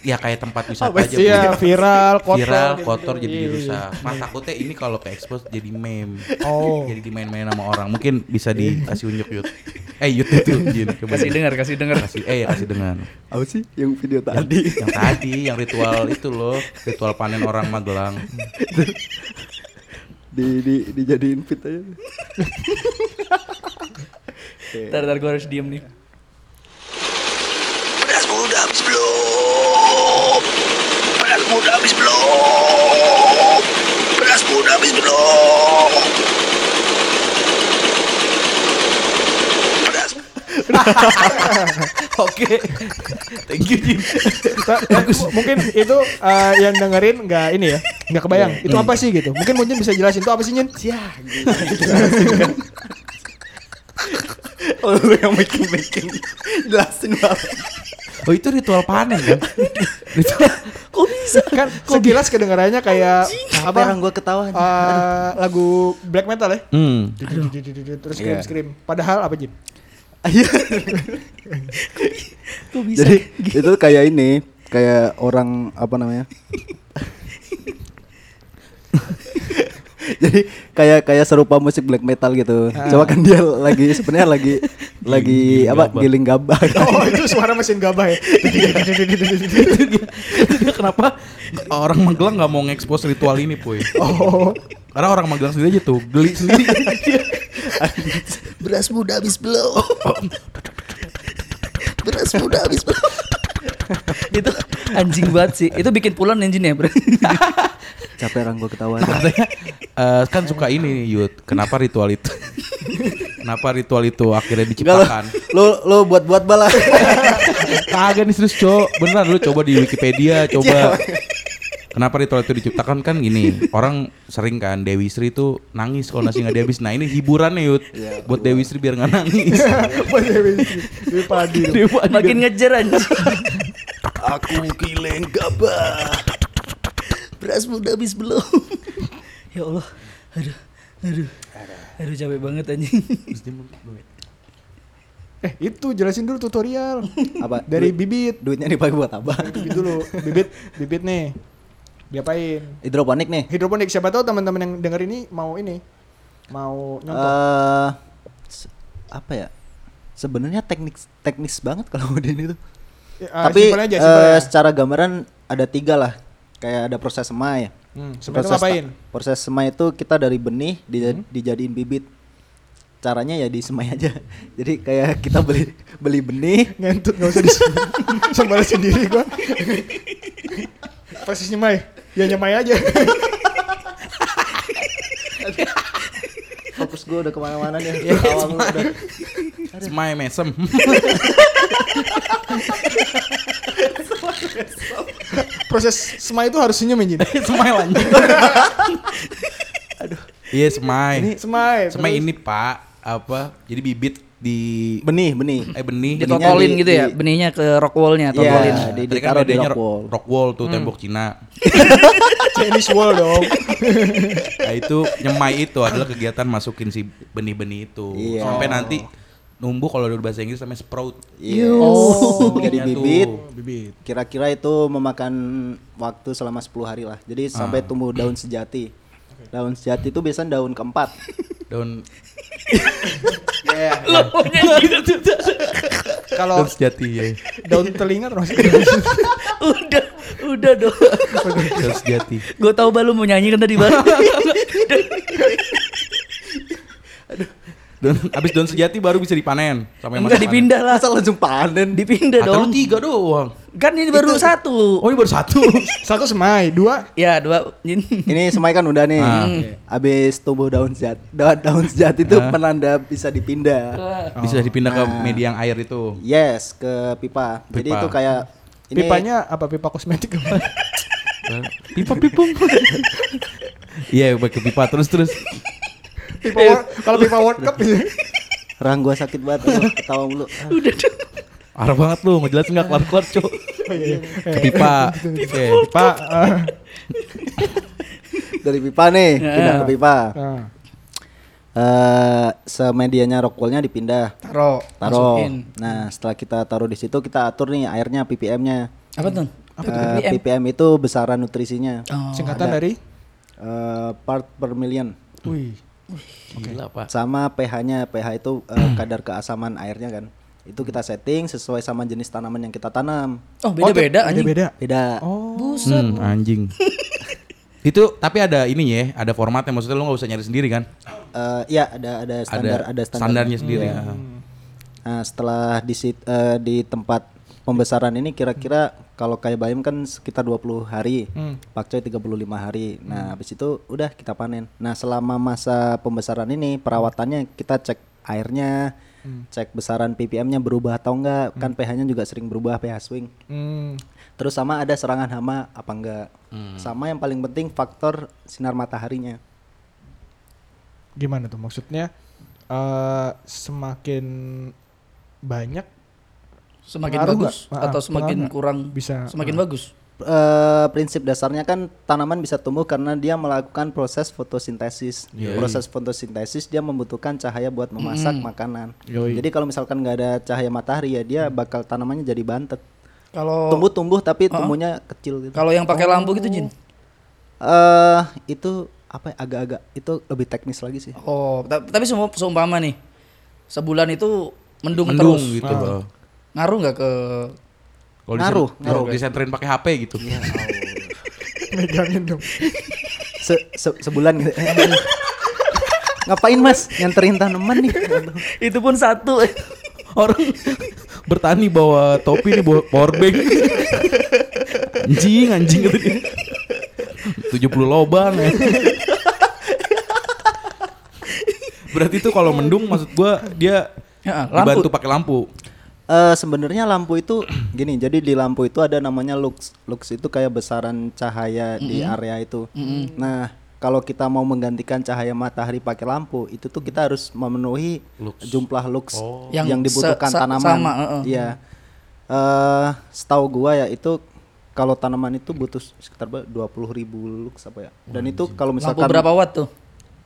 [SPEAKER 2] ya kayak tempat wisata aja.
[SPEAKER 1] Iya,
[SPEAKER 2] Bu.
[SPEAKER 1] viral, kotor.
[SPEAKER 2] viral,
[SPEAKER 1] gitu.
[SPEAKER 2] kotor jadi
[SPEAKER 1] Iya, iya.
[SPEAKER 2] dirusak. Nah, takutnya ini kalau ke expose jadi meme.
[SPEAKER 1] Oh.
[SPEAKER 2] Jadi dimain-main sama orang. Mungkin bisa dikasih unjuk yut. Eh, yut itu Jin. Coba
[SPEAKER 4] Kasih
[SPEAKER 2] Jin.
[SPEAKER 4] dengar, kasih dengar.
[SPEAKER 2] Kasih eh ya kasih dengar.
[SPEAKER 3] Apa sih yang video tadi?
[SPEAKER 2] Yang tadi yang ritual itu loh, ritual panen orang Magelang.
[SPEAKER 3] di, di dijadiin fit aja.
[SPEAKER 4] Ntar, ntar gue harus diem nih.
[SPEAKER 5] Pedas muda habis belum? Pedas muda habis belum? Pedas muda habis belum? Pedas
[SPEAKER 2] Oke. Thank you Jin.
[SPEAKER 1] Ta- eh, mungkin itu eh, yang dengerin nggak ini ya nggak kebayang itu apa sih gitu mungkin mungkin bisa jelasin itu apa sih nyin
[SPEAKER 3] Oh, lu yang making-making. Jelasin banget.
[SPEAKER 2] Oh, itu ritual panen kan? Ritual
[SPEAKER 4] Kok bisa?
[SPEAKER 1] kan sekilas kedengarannya kayak
[SPEAKER 3] Apa orang
[SPEAKER 1] apa
[SPEAKER 3] gua ketawa? anjing.
[SPEAKER 1] eh, lagu black metal ya
[SPEAKER 2] Hmm.
[SPEAKER 1] terus scream scream padahal apa jin
[SPEAKER 3] Iya.
[SPEAKER 4] Kok bisa?
[SPEAKER 3] Jadi itu kayak ini, kayak orang apa namanya? Jadi kayak kayak serupa musik black metal gitu.
[SPEAKER 5] Ah.
[SPEAKER 3] Cuma kan dia lagi sebenarnya lagi
[SPEAKER 2] giling
[SPEAKER 3] lagi apa?
[SPEAKER 2] gabah.
[SPEAKER 3] Giling gabah.
[SPEAKER 1] oh itu suara mesin gabah ya
[SPEAKER 2] Kenapa orang Magelang nggak mau ngekspos ritual ini, Puy?
[SPEAKER 1] oh
[SPEAKER 2] Karena orang Magelang sendiri aja tuh geli sendiri.
[SPEAKER 5] beras muda habis belum? Beras muda habis belum?
[SPEAKER 4] itu anjing banget sih. Itu bikin pulan anjing ya, bro.
[SPEAKER 3] Capek orang gua ketawa.
[SPEAKER 2] Katanya eh, kan suka ini nih, Yud. Kenapa ritual itu? Kenapa ritual itu akhirnya
[SPEAKER 3] Enggak lo,
[SPEAKER 2] diciptakan?
[SPEAKER 3] lo lo buat-buat bala.
[SPEAKER 2] Kagak nih serius, Cok. Beneran lu coba di Wikipedia, coba. Kenapa ritual itu diciptakan kan gini Orang sering kan Dewi Sri tuh nangis kalau nasi nggak dihabis Nah ini hiburannya Yud Buat Dewi Sri biar nggak nangis
[SPEAKER 1] Apa sih, Win? Di pagi
[SPEAKER 4] Makin ngejar anjing.
[SPEAKER 5] Aku giling gabah. Beras muda habis belum?
[SPEAKER 4] ya Allah. Aduh. Aduh. Aduh capek banget anjing.
[SPEAKER 1] eh itu jelasin dulu tutorial
[SPEAKER 3] Apa?
[SPEAKER 1] dari
[SPEAKER 3] duit-
[SPEAKER 1] bibit
[SPEAKER 3] duitnya dipakai buat apa?
[SPEAKER 1] bibit dulu bibit bibit nih diapain
[SPEAKER 3] Hidroponik nih.
[SPEAKER 1] hidroponik siapa tahu teman-teman yang denger ini mau ini mau
[SPEAKER 3] Eh
[SPEAKER 1] nyontoh
[SPEAKER 3] se- apa ya? Sebenarnya teknik teknis banget kalau udah itu.
[SPEAKER 1] Ya, ah,
[SPEAKER 3] Tapi
[SPEAKER 1] simpel aja,
[SPEAKER 3] eh,
[SPEAKER 1] simpel aja.
[SPEAKER 3] secara gambaran ada tiga lah. Kayak ada proses semai.
[SPEAKER 1] Hmm, semai itu
[SPEAKER 3] Proses
[SPEAKER 1] ngapain? Hmm.
[SPEAKER 3] Proses semai itu kita dari benih dija- dijadiin bibit. Caranya ya disemai aja. Jadi kayak kita beli beli benih.
[SPEAKER 1] Ngentut nggak usah disebut. Sembara sendiri gua. Persis nyemai. Ya nyemai aja.
[SPEAKER 3] Fokus gue udah kemana-mana nih. Ketawa gua udah.
[SPEAKER 2] Semai mesem
[SPEAKER 1] Proses semai itu harus senyum anjing.
[SPEAKER 2] Semai lanjut Iya semai
[SPEAKER 1] Semai.
[SPEAKER 2] Semai
[SPEAKER 1] terus-
[SPEAKER 2] ini pak Apa Jadi bibit di
[SPEAKER 3] Benih benih.
[SPEAKER 2] Eh benih
[SPEAKER 3] Benih.
[SPEAKER 4] Ditotolin
[SPEAKER 3] di-
[SPEAKER 4] gitu ya,
[SPEAKER 3] di-
[SPEAKER 4] benihnya ke rock wallnya
[SPEAKER 3] Iya,
[SPEAKER 4] totolin.
[SPEAKER 3] di-
[SPEAKER 2] Tadi
[SPEAKER 3] ditaruh di
[SPEAKER 2] bedanya
[SPEAKER 3] rock wall.
[SPEAKER 2] rock wall tuh tembok Cina.
[SPEAKER 1] Chinese wall dong.
[SPEAKER 2] Nah, itu nyemai itu adalah kegiatan masukin si benih-benih itu
[SPEAKER 3] Iya.
[SPEAKER 2] sampai
[SPEAKER 3] Oh.
[SPEAKER 2] nanti Numbu kalau dari bahasa Inggris namanya sprout.
[SPEAKER 3] Yes.
[SPEAKER 1] Oh.
[SPEAKER 3] Jadi
[SPEAKER 2] Iya tuh.
[SPEAKER 3] bibit
[SPEAKER 1] Bibit.
[SPEAKER 3] kira-kira itu memakan waktu selama 10 hari lah. Jadi
[SPEAKER 2] Ah.
[SPEAKER 3] sampai tumbuh daun sejati. Daun sejati itu biasanya daun keempat.
[SPEAKER 2] Daun
[SPEAKER 4] Lo punya gitu tuh.
[SPEAKER 1] Kalau
[SPEAKER 2] daun sejati ya.
[SPEAKER 1] daun telinga terus
[SPEAKER 4] Udah, udah dong.
[SPEAKER 2] daun sejati.
[SPEAKER 4] Gue tau bah lu mau nyanyi kan tadi bah.
[SPEAKER 2] Daun abis daun sejati baru bisa dipanen sama yang masih
[SPEAKER 4] Enggak
[SPEAKER 2] panen.
[SPEAKER 4] dipindah lah.
[SPEAKER 3] Masa langsung panen di
[SPEAKER 4] Dipindah
[SPEAKER 2] Kata lu
[SPEAKER 4] dong.
[SPEAKER 2] Ah, tiga doang.
[SPEAKER 4] Kan ini baru satu.
[SPEAKER 2] Oh ini baru satu.
[SPEAKER 1] satu semai, dua
[SPEAKER 4] Ya dua. Jin.
[SPEAKER 3] ini semai kan udah nih.
[SPEAKER 2] Ah.
[SPEAKER 3] Habis tumbuh daun sejati, daun, daun sejati itu
[SPEAKER 2] Ah.
[SPEAKER 3] penanda bisa dipindah.
[SPEAKER 2] Bisa dipindah ke
[SPEAKER 3] Nah.
[SPEAKER 2] media yang air itu.
[SPEAKER 3] Yes, ke pipa.
[SPEAKER 2] Pipa.
[SPEAKER 3] Jadi itu kayak ini
[SPEAKER 1] pipanya apa pipa kosmetik apa?
[SPEAKER 2] Pipa pipung. Iya pakai pipa terus terus.
[SPEAKER 1] pipa Wor- kalau pipa World Cup gitu.
[SPEAKER 3] Rang gua sakit banget aduh, ketawa mulu.
[SPEAKER 2] Arah banget lu, ngejelasin nggak kelar kelar cok.
[SPEAKER 3] Iya.
[SPEAKER 2] Ke pipa. Oke, pipa.
[SPEAKER 1] Pak. eh,
[SPEAKER 3] Dari pipa nih,
[SPEAKER 2] Ah.
[SPEAKER 3] pindah ke pipa.
[SPEAKER 1] eh,
[SPEAKER 3] Eh semedianya rockwoolnya dipindah.
[SPEAKER 1] Taro.
[SPEAKER 3] Taruh.
[SPEAKER 4] Masukin.
[SPEAKER 3] Nah, setelah kita taruh di situ kita atur nih airnya PPM-nya.
[SPEAKER 4] Apa tuh?
[SPEAKER 3] Eh,
[SPEAKER 4] BBM?
[SPEAKER 3] PPM itu besaran nutrisinya.
[SPEAKER 4] Oh.
[SPEAKER 1] Singkatan dari
[SPEAKER 3] Eh, part per million
[SPEAKER 1] Wih.
[SPEAKER 2] Gila pak.
[SPEAKER 3] sama pH-nya. pH itu eh, kadar keasaman airnya kan. Itu kita setting sesuai sama jenis tanaman yang kita tanam.
[SPEAKER 4] Oh beda-beda anjing.
[SPEAKER 1] Beda-beda.
[SPEAKER 3] Beda.
[SPEAKER 1] Oh.
[SPEAKER 2] Hmm, anjing. itu tapi ada ini ya, ada formatnya. Maksudnya lu nggak usah nyari sendiri kan?
[SPEAKER 3] Eh, ya ada ada standar ada, Iya. standar.
[SPEAKER 2] standarnya sendiri. ya.
[SPEAKER 3] Nah, setelah di sit- eh, di tempat pembesaran ini kira-kira kalau kayak bayam kan sekitar 20 hari, pakcoy 35 hari. Nah, habis itu udah kita panen. Nah, selama masa pembesaran ini perawatannya kita cek airnya, cek besaran ppm-nya berubah atau enggak. Kan pH-nya juga sering berubah pH swing.
[SPEAKER 1] Hmm.
[SPEAKER 3] Terus sama ada serangan hama apa enggak. Sama yang paling penting faktor sinar mataharinya.
[SPEAKER 1] Gimana tuh maksudnya? eh, semakin banyak
[SPEAKER 4] Semakin
[SPEAKER 1] Pengaruh nggak? Ah,
[SPEAKER 4] bagus atau
[SPEAKER 1] pengaruh
[SPEAKER 4] semakin
[SPEAKER 1] nggak?
[SPEAKER 4] kurang?
[SPEAKER 1] Bisa. Ah.
[SPEAKER 4] Semakin bagus.
[SPEAKER 3] eh prinsip dasarnya kan tanaman bisa tumbuh karena dia melakukan proses fotosintesis. Proses fotosintesis dia membutuhkan cahaya buat memasak makanan. Jadi kalau misalkan nggak ada cahaya matahari ya dia bakal tanamannya jadi bantet.
[SPEAKER 4] Kalau
[SPEAKER 3] Tumbuh-tumbuh tapi tumbuhnya kecil gitu.
[SPEAKER 4] kalau yang pakai lampu gitu Jin.
[SPEAKER 3] Eh itu apa ya, agak-agak itu lebih teknis lagi sih.
[SPEAKER 4] Oh, ta- tapi semua seumpama nih. Sebulan itu mendung,
[SPEAKER 2] Mendung
[SPEAKER 4] terus.
[SPEAKER 2] gitu loh.
[SPEAKER 4] Ngaruh nggak ke
[SPEAKER 2] Kalau disen-
[SPEAKER 3] Ngaruh, Iya.
[SPEAKER 2] Kalau disenterin pakai HP gitu.
[SPEAKER 1] megangin dong.
[SPEAKER 3] Se- se- sebulan gitu. Ngapain Mas nyanterin tanaman nih?
[SPEAKER 4] itu pun satu.
[SPEAKER 2] Orang bertani bawa topi nih bawa power bank. anjing, anjing gitu dia. 70 lobang ya. Berarti itu kalau mendung maksud gua dia
[SPEAKER 4] Ya, lampu.
[SPEAKER 2] dibantu pakai lampu.
[SPEAKER 3] Eh sebenarnya lampu itu gini, jadi di lampu itu ada namanya lux. Lux itu kayak besaran cahaya di area itu. Nah, kalau kita mau menggantikan cahaya matahari pakai lampu, itu tuh kita harus memenuhi jumlah lux yang,
[SPEAKER 4] Yang
[SPEAKER 3] dibutuhkan
[SPEAKER 4] se- sa-
[SPEAKER 3] tanaman.
[SPEAKER 4] sama, heeh.
[SPEAKER 3] Iya. Eh setahu gua ya itu kalau tanaman itu butuh sekitar dua puluh ribu lux apa ya. Dan itu kalau
[SPEAKER 4] Lampu
[SPEAKER 3] misalkan
[SPEAKER 4] berapa watt tuh?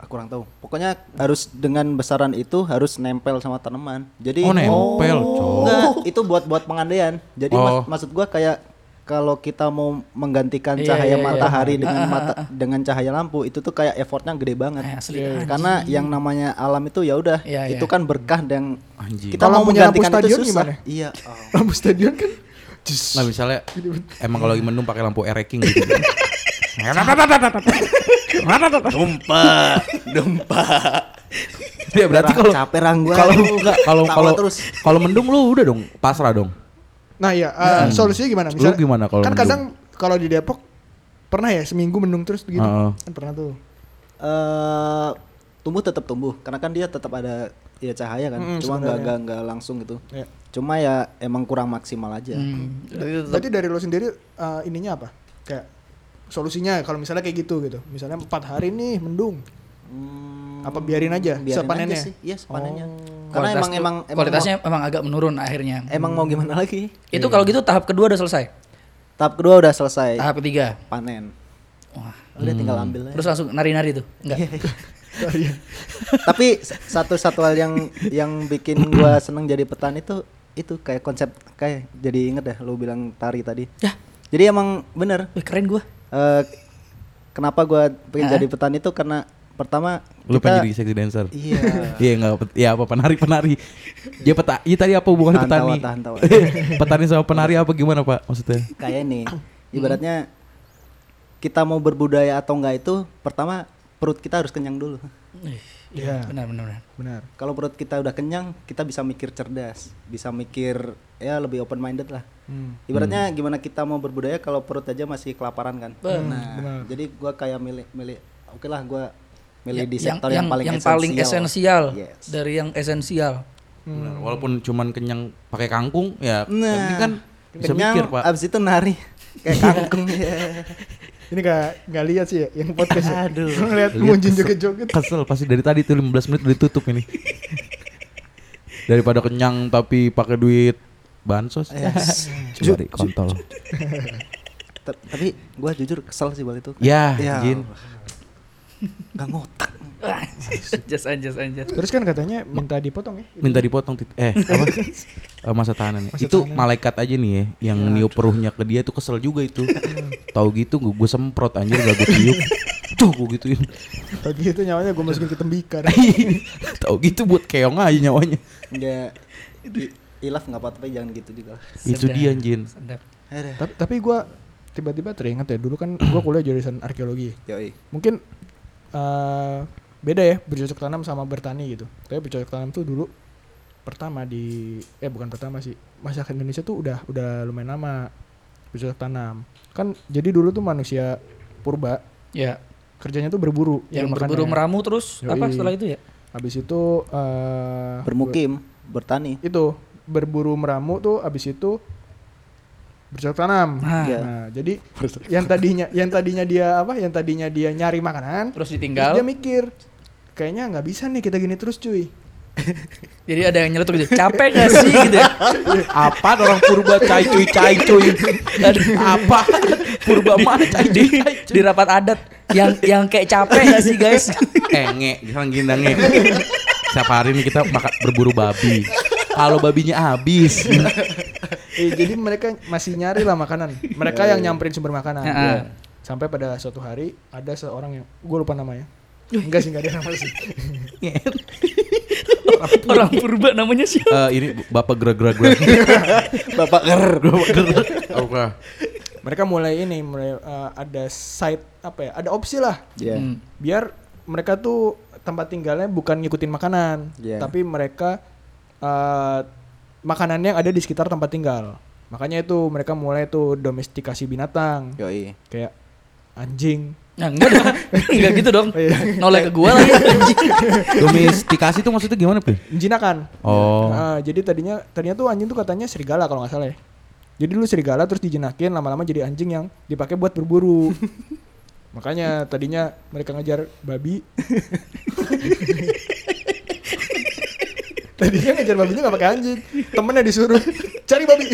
[SPEAKER 3] Ah, kurang tahu. Pokoknya harus dengan besaran itu harus nempel sama tanaman. Jadi
[SPEAKER 2] Oh, nempel, Cok.
[SPEAKER 3] Enggak, itu buat buat pengandaian. Jadi
[SPEAKER 2] Oh.
[SPEAKER 3] mas- maksud gua kayak kalau kita mau menggantikan
[SPEAKER 4] Iya,
[SPEAKER 3] cahaya matahari
[SPEAKER 4] Ah,
[SPEAKER 3] dengan mata dengan cahaya lampu itu tuh kayak effortnya gede banget.
[SPEAKER 4] Eh,
[SPEAKER 2] Iya,
[SPEAKER 4] asli.
[SPEAKER 3] Karena yang namanya alam itu ya udah
[SPEAKER 4] Iya,
[SPEAKER 3] itu kan berkah dan
[SPEAKER 2] Anjing.
[SPEAKER 3] kita
[SPEAKER 1] Kalau
[SPEAKER 3] mau
[SPEAKER 1] punya lampu
[SPEAKER 3] menggantikan itu
[SPEAKER 1] stadion
[SPEAKER 3] susah.
[SPEAKER 1] gimana?
[SPEAKER 3] Iya. oh.
[SPEAKER 1] Lampu stadion kan. Jus.
[SPEAKER 2] Nggak Nah, misalnya emang kalau lagi mendung pakai lampu ereking gitu.
[SPEAKER 5] Dompa, dompa.
[SPEAKER 2] ya berarti kalau
[SPEAKER 3] capek rang gua.
[SPEAKER 2] kalau enggak kalau
[SPEAKER 3] Tawa
[SPEAKER 2] kalau
[SPEAKER 3] terus.
[SPEAKER 2] kalau mendung lu udah dong pasrah dong.
[SPEAKER 1] Nah iya, eh, solusinya
[SPEAKER 3] Nah,
[SPEAKER 1] gimana?
[SPEAKER 2] Lu gimana kalau
[SPEAKER 1] kan
[SPEAKER 2] mendung?
[SPEAKER 1] kadang kalau di Depok pernah ya seminggu mendung terus begitu.
[SPEAKER 2] Heeh.
[SPEAKER 1] Kan pernah tuh.
[SPEAKER 3] eh, tumbuh tetap tumbuh karena kan dia tetap ada ya cahaya kan.
[SPEAKER 1] Mm,
[SPEAKER 3] Cuma
[SPEAKER 1] sebenarnya.
[SPEAKER 3] enggak enggak enggak langsung gitu.
[SPEAKER 1] Iya.
[SPEAKER 3] Cuma ya emang kurang maksimal
[SPEAKER 1] Ya.
[SPEAKER 3] aja.
[SPEAKER 1] Hmm.
[SPEAKER 4] Hmm.
[SPEAKER 1] Berarti dari lo sendiri eh, ininya apa? Kayak solusinya kalau misalnya kayak gitu gitu. Misalnya empat hari nih mendung.
[SPEAKER 3] Hmm,
[SPEAKER 1] Apa biarin aja
[SPEAKER 3] biarin
[SPEAKER 1] sepanennya? Oh.
[SPEAKER 3] aja sih. Iya, sepanennya. Karena
[SPEAKER 4] Kualitas
[SPEAKER 3] emang
[SPEAKER 4] tuh-
[SPEAKER 3] emang emang
[SPEAKER 4] kualitasnya emang, agak menurun akhirnya.
[SPEAKER 3] mau, emang mau
[SPEAKER 1] Hmm.
[SPEAKER 3] gimana lagi?
[SPEAKER 4] itu kalau gitu tahap kedua udah selesai.
[SPEAKER 3] Tahap kedua udah
[SPEAKER 1] Eh.
[SPEAKER 3] selesai
[SPEAKER 4] Tahap ketiga.
[SPEAKER 3] panen.
[SPEAKER 4] Wah.
[SPEAKER 1] Hmm.
[SPEAKER 3] Udah tinggal ambil aja.
[SPEAKER 1] Iya,
[SPEAKER 4] Terus langsung nari-nari tuh. Enggak.
[SPEAKER 3] Tapi s- satu satu hal yang yang bikin gua seneng jadi petani itu itu kayak konsep kayak jadi inget dah lu bilang tari tadi.
[SPEAKER 4] Yah.
[SPEAKER 3] Jadi emang bener
[SPEAKER 4] Ya, Wih, keren gua.
[SPEAKER 3] eh, kenapa gua pengen
[SPEAKER 4] Ah.
[SPEAKER 3] jadi petani itu karena pertama
[SPEAKER 2] Eh? Lu pengen
[SPEAKER 3] kita-
[SPEAKER 2] jadi sexy dancer.
[SPEAKER 3] Iya.
[SPEAKER 2] Iya enggak ya apa penari penari. Dia peta, iya tadi apa hubungannya
[SPEAKER 3] Tahan
[SPEAKER 2] petani?
[SPEAKER 3] tawa, tahan tawa.
[SPEAKER 2] petani sama penari apa gimana Pak maksudnya?
[SPEAKER 3] kayak nih ibaratnya kita mau berbudaya atau enggak itu pertama perut kita harus kenyang dulu
[SPEAKER 1] Iya,
[SPEAKER 4] Benar, benar, benar.
[SPEAKER 1] benar.
[SPEAKER 3] kalau perut kita udah kenyang kita bisa mikir cerdas bisa mikir ya lebih open minded lah
[SPEAKER 1] Hmm.
[SPEAKER 3] ibaratnya gimana kita mau berbudaya kalau perut aja masih kelaparan kan nah
[SPEAKER 1] benar.
[SPEAKER 3] jadi gua kayak milih milih oke lah gua
[SPEAKER 4] Ya,
[SPEAKER 3] milih di sektor yang, paling
[SPEAKER 4] yang
[SPEAKER 3] esensial,
[SPEAKER 4] paling esensial
[SPEAKER 3] Yes.
[SPEAKER 4] dari yang esensial.
[SPEAKER 2] Benar, Walaupun cuman kenyang pakai kangkung ya yang
[SPEAKER 3] Hmm. nah
[SPEAKER 2] penting kan bisa
[SPEAKER 3] kenyang,
[SPEAKER 2] mikir Pak.
[SPEAKER 3] abis itu nari kayak kangkung ya.
[SPEAKER 1] Ini nggak nggak lihat sih ya yang podcast. Ya? Aduh. Ngeliat Munjin joget-joget.
[SPEAKER 2] Kesel pasti dari tadi tuh 15 menit udah ditutup ini. Daripada kenyang tapi pakai duit bansos. Coba di kontol.
[SPEAKER 3] Ta- tapi gua jujur kesel sih balik itu
[SPEAKER 2] Ya,
[SPEAKER 3] Ya
[SPEAKER 2] Jin.
[SPEAKER 3] Allah. nggak ngotak
[SPEAKER 4] Just anjas anjas.
[SPEAKER 1] Terus kan katanya minta dipotong ya.
[SPEAKER 2] minta dipotong tit- eh apa Eh, masa tahanan ya.
[SPEAKER 1] Masa
[SPEAKER 2] itu
[SPEAKER 1] tahanan.
[SPEAKER 2] malaikat aja nih ya yang niup peruhnya ke dia tuh kesel juga itu tahu gitu gue, semprot anjir gak gue tiup tuh gue gituin
[SPEAKER 1] Tadi itu nyawanya gue masukin ke tembikar.
[SPEAKER 2] tahu gitu buat keong aja nyawanya
[SPEAKER 3] nggak i- ilaf nggak apa-apa tapi jangan gitu juga lah.
[SPEAKER 2] itu dia anjir
[SPEAKER 4] Sedap.
[SPEAKER 3] Aduh.
[SPEAKER 1] tapi tapi gue tiba-tiba teringat ya dulu kan gue kuliah jurusan arkeologi.
[SPEAKER 3] Yoi.
[SPEAKER 1] Mungkin eh, beda ya bercocok tanam sama bertani gitu. Tapi bercocok tanam tuh dulu pertama di eh bukan pertama sih masyarakat Indonesia tuh udah udah lumayan lama bercocok tanam. Kan jadi dulu tuh manusia purba
[SPEAKER 4] Ya,
[SPEAKER 1] kerjanya tuh berburu.
[SPEAKER 4] yang
[SPEAKER 1] cari
[SPEAKER 4] berburu
[SPEAKER 1] makanan.
[SPEAKER 4] meramu terus
[SPEAKER 1] Yoi.
[SPEAKER 4] apa setelah itu ya?
[SPEAKER 1] Habis itu eh,
[SPEAKER 3] bermukim bertani
[SPEAKER 1] itu berburu meramu tuh abis itu bercocok tanam.
[SPEAKER 4] Nah.
[SPEAKER 3] Iya.
[SPEAKER 1] Nah, jadi yang tadinya yang tadinya dia apa? Yang tadinya dia nyari makanan,
[SPEAKER 4] Terus
[SPEAKER 1] terus
[SPEAKER 4] ditinggal.
[SPEAKER 1] dia mikir kayaknya nggak bisa nih kita gini terus cuy.
[SPEAKER 4] Jadi ada yang nyeletuk gitu. Capek gak sih gitu ya?
[SPEAKER 2] apa orang purba cai cuy cai cuy apa purba mana cai cuy cai cuy
[SPEAKER 4] Di rapat adat yang yang kayak capek gak sih guys?
[SPEAKER 2] eh nge jangan gini nge setiap hari ini kita makan berburu babi kalau babinya habis
[SPEAKER 1] Eh, jadi mereka masih nyari lah makanan. Mereka yang nyamperin sumber makanan.
[SPEAKER 4] Iya.
[SPEAKER 1] Iya. Sampai pada suatu hari ada seorang yang gue lupa namanya. Enggak sih, enggak ada nama sih.
[SPEAKER 4] Orang purba namanya
[SPEAKER 2] Eh,
[SPEAKER 4] siapa?
[SPEAKER 2] ini bapak gerak gerak gerak
[SPEAKER 3] bapak ger
[SPEAKER 2] bapak gerak oke
[SPEAKER 1] Mereka mulai ini mulai eh, ada site apa ya? Ada opsi lah.
[SPEAKER 3] Iya.
[SPEAKER 4] Hmm.
[SPEAKER 1] biar mereka tuh tempat tinggalnya bukan ngikutin makanan,
[SPEAKER 3] Iya.
[SPEAKER 1] tapi mereka eh, makanannya yang ada di sekitar tempat tinggal. Makanya itu mereka mulai tuh domestikasi binatang,
[SPEAKER 3] Yoi.
[SPEAKER 1] kayak anjing.
[SPEAKER 4] Nah, enggak dong. enggak gitu dong.
[SPEAKER 3] Oh,
[SPEAKER 1] Iya.
[SPEAKER 4] Noleh ke gua lagi anjing.
[SPEAKER 2] domestikasi tuh maksudnya gimana Pil?
[SPEAKER 1] Menjinakkan.
[SPEAKER 2] Oh.
[SPEAKER 1] Nah, jadi tadinya tadinya tuh anjing tuh katanya serigala kalau nggak salah ya. Jadi dulu serigala terus dijinakin lama-lama jadi anjing yang dipakai buat berburu. Makanya tadinya mereka ngejar babi. tadinya ngejar babinya nggak pakai anjing. Temennya disuruh cari babi.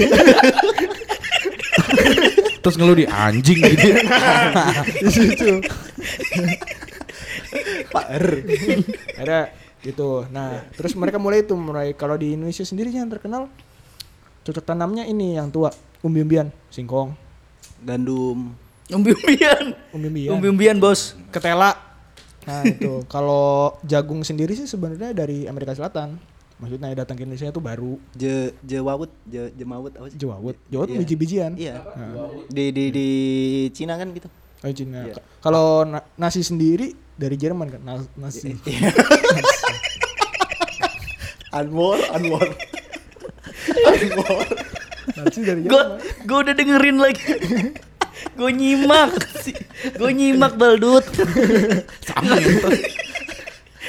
[SPEAKER 2] terus ngeluh di anjing gitu
[SPEAKER 1] Di situ.
[SPEAKER 3] pak ger
[SPEAKER 1] Ada gitu. Nah, terus mereka mulai itu mulai kalau di Indonesia sendiri yang terkenal cocok tanamnya ini yang tua, umbi-umbian, singkong,
[SPEAKER 3] gandum
[SPEAKER 4] Umbi-umbian.
[SPEAKER 1] umbi-umbian.
[SPEAKER 4] Umbi-umbian, Bos.
[SPEAKER 1] ketela. Nah itu kalau jagung sendiri sih sebenarnya dari Amerika Selatan. Maksudnya datang ke Indonesia itu baru
[SPEAKER 3] je jewawut je jemawut apa sih
[SPEAKER 1] jawawut, jawawut
[SPEAKER 3] Iya.
[SPEAKER 1] biji-bijian.
[SPEAKER 3] iya
[SPEAKER 1] Nah,
[SPEAKER 3] di di di Cina kan gitu
[SPEAKER 1] oh, Cina.
[SPEAKER 3] Iya.
[SPEAKER 1] Kalau na- nasi sendiri dari Jerman kan na- nasi.
[SPEAKER 3] Iya, Anwar Anwar
[SPEAKER 1] nasi dari
[SPEAKER 4] Gue
[SPEAKER 1] Jerman.
[SPEAKER 4] gue udah dengerin lagi. gue nyimak. Gue nyimak baldut.
[SPEAKER 2] gitu.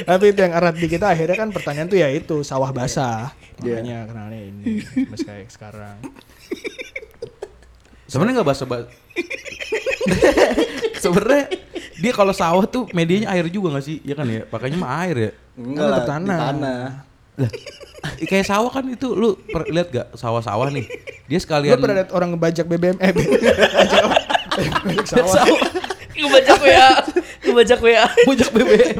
[SPEAKER 1] Tapi itu yang erat di kita akhirnya kan pertanyaan tuh ya itu sawah basah.
[SPEAKER 2] Iya.
[SPEAKER 1] Makanya kenalnya ini mas kayak sekarang.
[SPEAKER 2] sebenarnya nggak bahasa bahasa sebenarnya dia kalau sawah tuh medianya air juga nggak sih ya kan ya pakainya mah air ya
[SPEAKER 1] Kan
[SPEAKER 3] enggak lah
[SPEAKER 1] tetap
[SPEAKER 3] di
[SPEAKER 1] tanah.
[SPEAKER 3] tanah
[SPEAKER 2] kayak sawah kan itu lu per- lihat gak sawah-sawah nih dia
[SPEAKER 1] Lu
[SPEAKER 2] sekalian
[SPEAKER 1] pernah lihat orang ngebajak BBM eh bajak apa? Bajak sawah.
[SPEAKER 4] Ngebajak WA. Ngebajak WA.
[SPEAKER 2] bujak BBM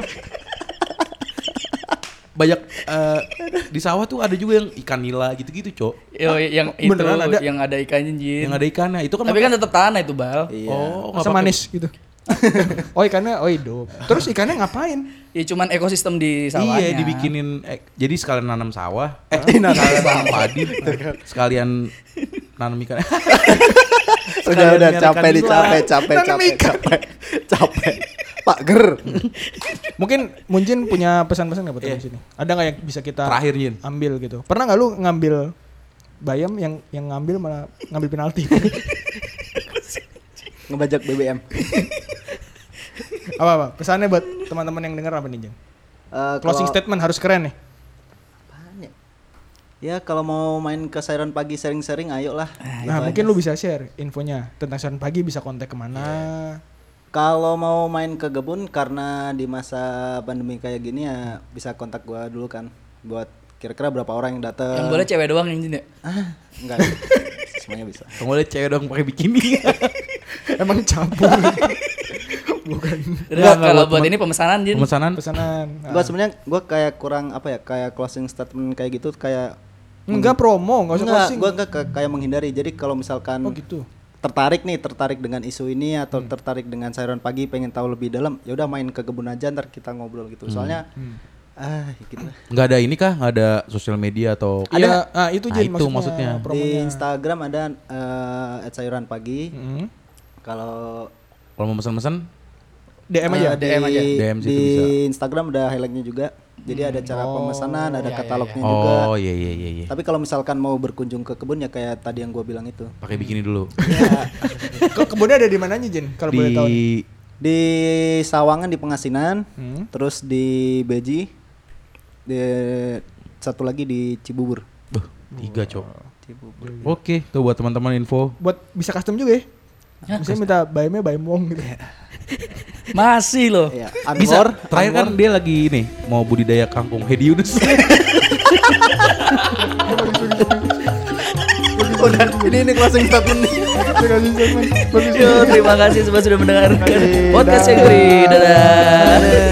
[SPEAKER 2] banyak eh, di sawah tuh ada juga yang ikan nila gitu-gitu, Cok.
[SPEAKER 4] Yo, yang itu
[SPEAKER 2] beneran ada?
[SPEAKER 4] yang ada ikannya anjir.
[SPEAKER 2] Yang ada ikannya. Itu kan
[SPEAKER 4] Tapi kan tetap tanah itu, Bal.
[SPEAKER 3] iya,
[SPEAKER 2] Oh, nggak
[SPEAKER 1] Masa
[SPEAKER 2] pakai-
[SPEAKER 1] manis gitu. oh ikannya, oh hidup. Terus ikannya ngapain?
[SPEAKER 4] Ya cuman ekosistem di sawahnya.
[SPEAKER 2] Iya, dibikinin eh, jadi sekalian nanam sawah. Eh, sekalian nanam padi. sekalian nanam ikan.
[SPEAKER 3] Udah
[SPEAKER 2] Sekalian
[SPEAKER 3] udah
[SPEAKER 2] nyari
[SPEAKER 3] capek
[SPEAKER 2] ikan
[SPEAKER 3] nih
[SPEAKER 2] nila.
[SPEAKER 3] capek capek
[SPEAKER 1] Nanam
[SPEAKER 3] capek
[SPEAKER 1] ikan.
[SPEAKER 3] capek capek. Pak Ger.
[SPEAKER 1] Mungkin Munjin punya pesan-pesan nggak buat
[SPEAKER 2] Iya.
[SPEAKER 1] di sini? Ada nggak yang bisa kita
[SPEAKER 2] Terakhir, Jin.
[SPEAKER 1] ambil gitu? Pernah nggak lu ngambil bayam yang yang ngambil malah ngambil penalti?
[SPEAKER 3] Ngebajak BBM.
[SPEAKER 1] apa apa? Pesannya buat teman-teman yang dengar apa nih, Jin?
[SPEAKER 3] Eh,
[SPEAKER 1] Closing
[SPEAKER 3] kalau-
[SPEAKER 1] statement harus keren nih.
[SPEAKER 3] Apaan ya? Ya kalau mau main ke siaran pagi sering-sering ayo lah.
[SPEAKER 1] Nah, mungkin lu bisa share infonya tentang siaran pagi bisa kontak kemana?
[SPEAKER 3] Kalau mau main ke kebun karena di masa pandemi kayak gini ya bisa kontak gua dulu kan buat kira-kira berapa orang yang datang.
[SPEAKER 4] Yang boleh cewek doang yang jin ya.
[SPEAKER 3] Ah, enggak. Semuanya bisa.
[SPEAKER 2] Kamu lihat cewek dong pakai bikini.
[SPEAKER 1] Emang campur
[SPEAKER 4] Udah, kalau buat ini pemesanan jin.
[SPEAKER 2] Pemesanan
[SPEAKER 1] pesanan. Ah.
[SPEAKER 3] Gua sebenarnya gua kayak kurang apa ya kayak closing statement kayak gitu kayak
[SPEAKER 1] Enggak promo, enggak usah
[SPEAKER 3] enggak,
[SPEAKER 1] closing.
[SPEAKER 3] gua enggak ke- kayak menghindari. Jadi kalau misalkan
[SPEAKER 1] Oh gitu.
[SPEAKER 3] tertarik nih tertarik dengan isu ini
[SPEAKER 1] Hmm.
[SPEAKER 3] atau tertarik dengan sayuran pagi pengen tahu lebih dalam ya udah main ke kebun aja ntar kita ngobrol gitu
[SPEAKER 1] Hmm.
[SPEAKER 3] soalnya ah gitu lah.
[SPEAKER 2] nggak ada ini kah? Nggak ada sosial media atau
[SPEAKER 1] Ada ya, ah, itu
[SPEAKER 2] Nah,
[SPEAKER 1] jadi
[SPEAKER 2] itu
[SPEAKER 1] maksudnya,
[SPEAKER 2] maksudnya.
[SPEAKER 1] promonya.
[SPEAKER 3] di Instagram ada eh, at sayuran pagi
[SPEAKER 1] Mm.
[SPEAKER 3] kalau
[SPEAKER 2] kalau mau pesan-pesan
[SPEAKER 1] DM aja.
[SPEAKER 3] eh, di,
[SPEAKER 2] aja. DM situ
[SPEAKER 3] di
[SPEAKER 2] bisa.
[SPEAKER 3] Instagram ada highlightnya juga jadi ada
[SPEAKER 1] Hmm.
[SPEAKER 3] cara
[SPEAKER 1] Oh,
[SPEAKER 3] pemesanan
[SPEAKER 1] iya,
[SPEAKER 3] ada katalognya juga
[SPEAKER 2] Oh, iya iya iya iya.
[SPEAKER 3] tapi kalau misalkan mau berkunjung ke kebun ya kayak tadi yang gue bilang itu
[SPEAKER 2] Pakai bikini dulu.
[SPEAKER 1] Ke kebunnya ada di mananya, Jin? Kalau boleh tahu. nih.
[SPEAKER 2] Di
[SPEAKER 3] di Sawangan di Pengasinan
[SPEAKER 1] Hmm.
[SPEAKER 3] terus di Beji di satu lagi di Cibubur
[SPEAKER 2] Duh, tiga, Cok. Oke, tuh buat teman-teman info.
[SPEAKER 1] Buat bisa custom juga ya? Misalnya minta bayamnya bayam wong gitu.
[SPEAKER 4] Masih loh.
[SPEAKER 3] Iya,
[SPEAKER 2] Bisa.
[SPEAKER 3] Angkor,
[SPEAKER 2] Terakhir kan dia lagi ini mau budidaya kangkung. Hedi Yunus.
[SPEAKER 3] Udah, ini ini closing statement nih.
[SPEAKER 4] Yo, terima kasih semua sudah mendengarkan podcast yang beri. Dadah.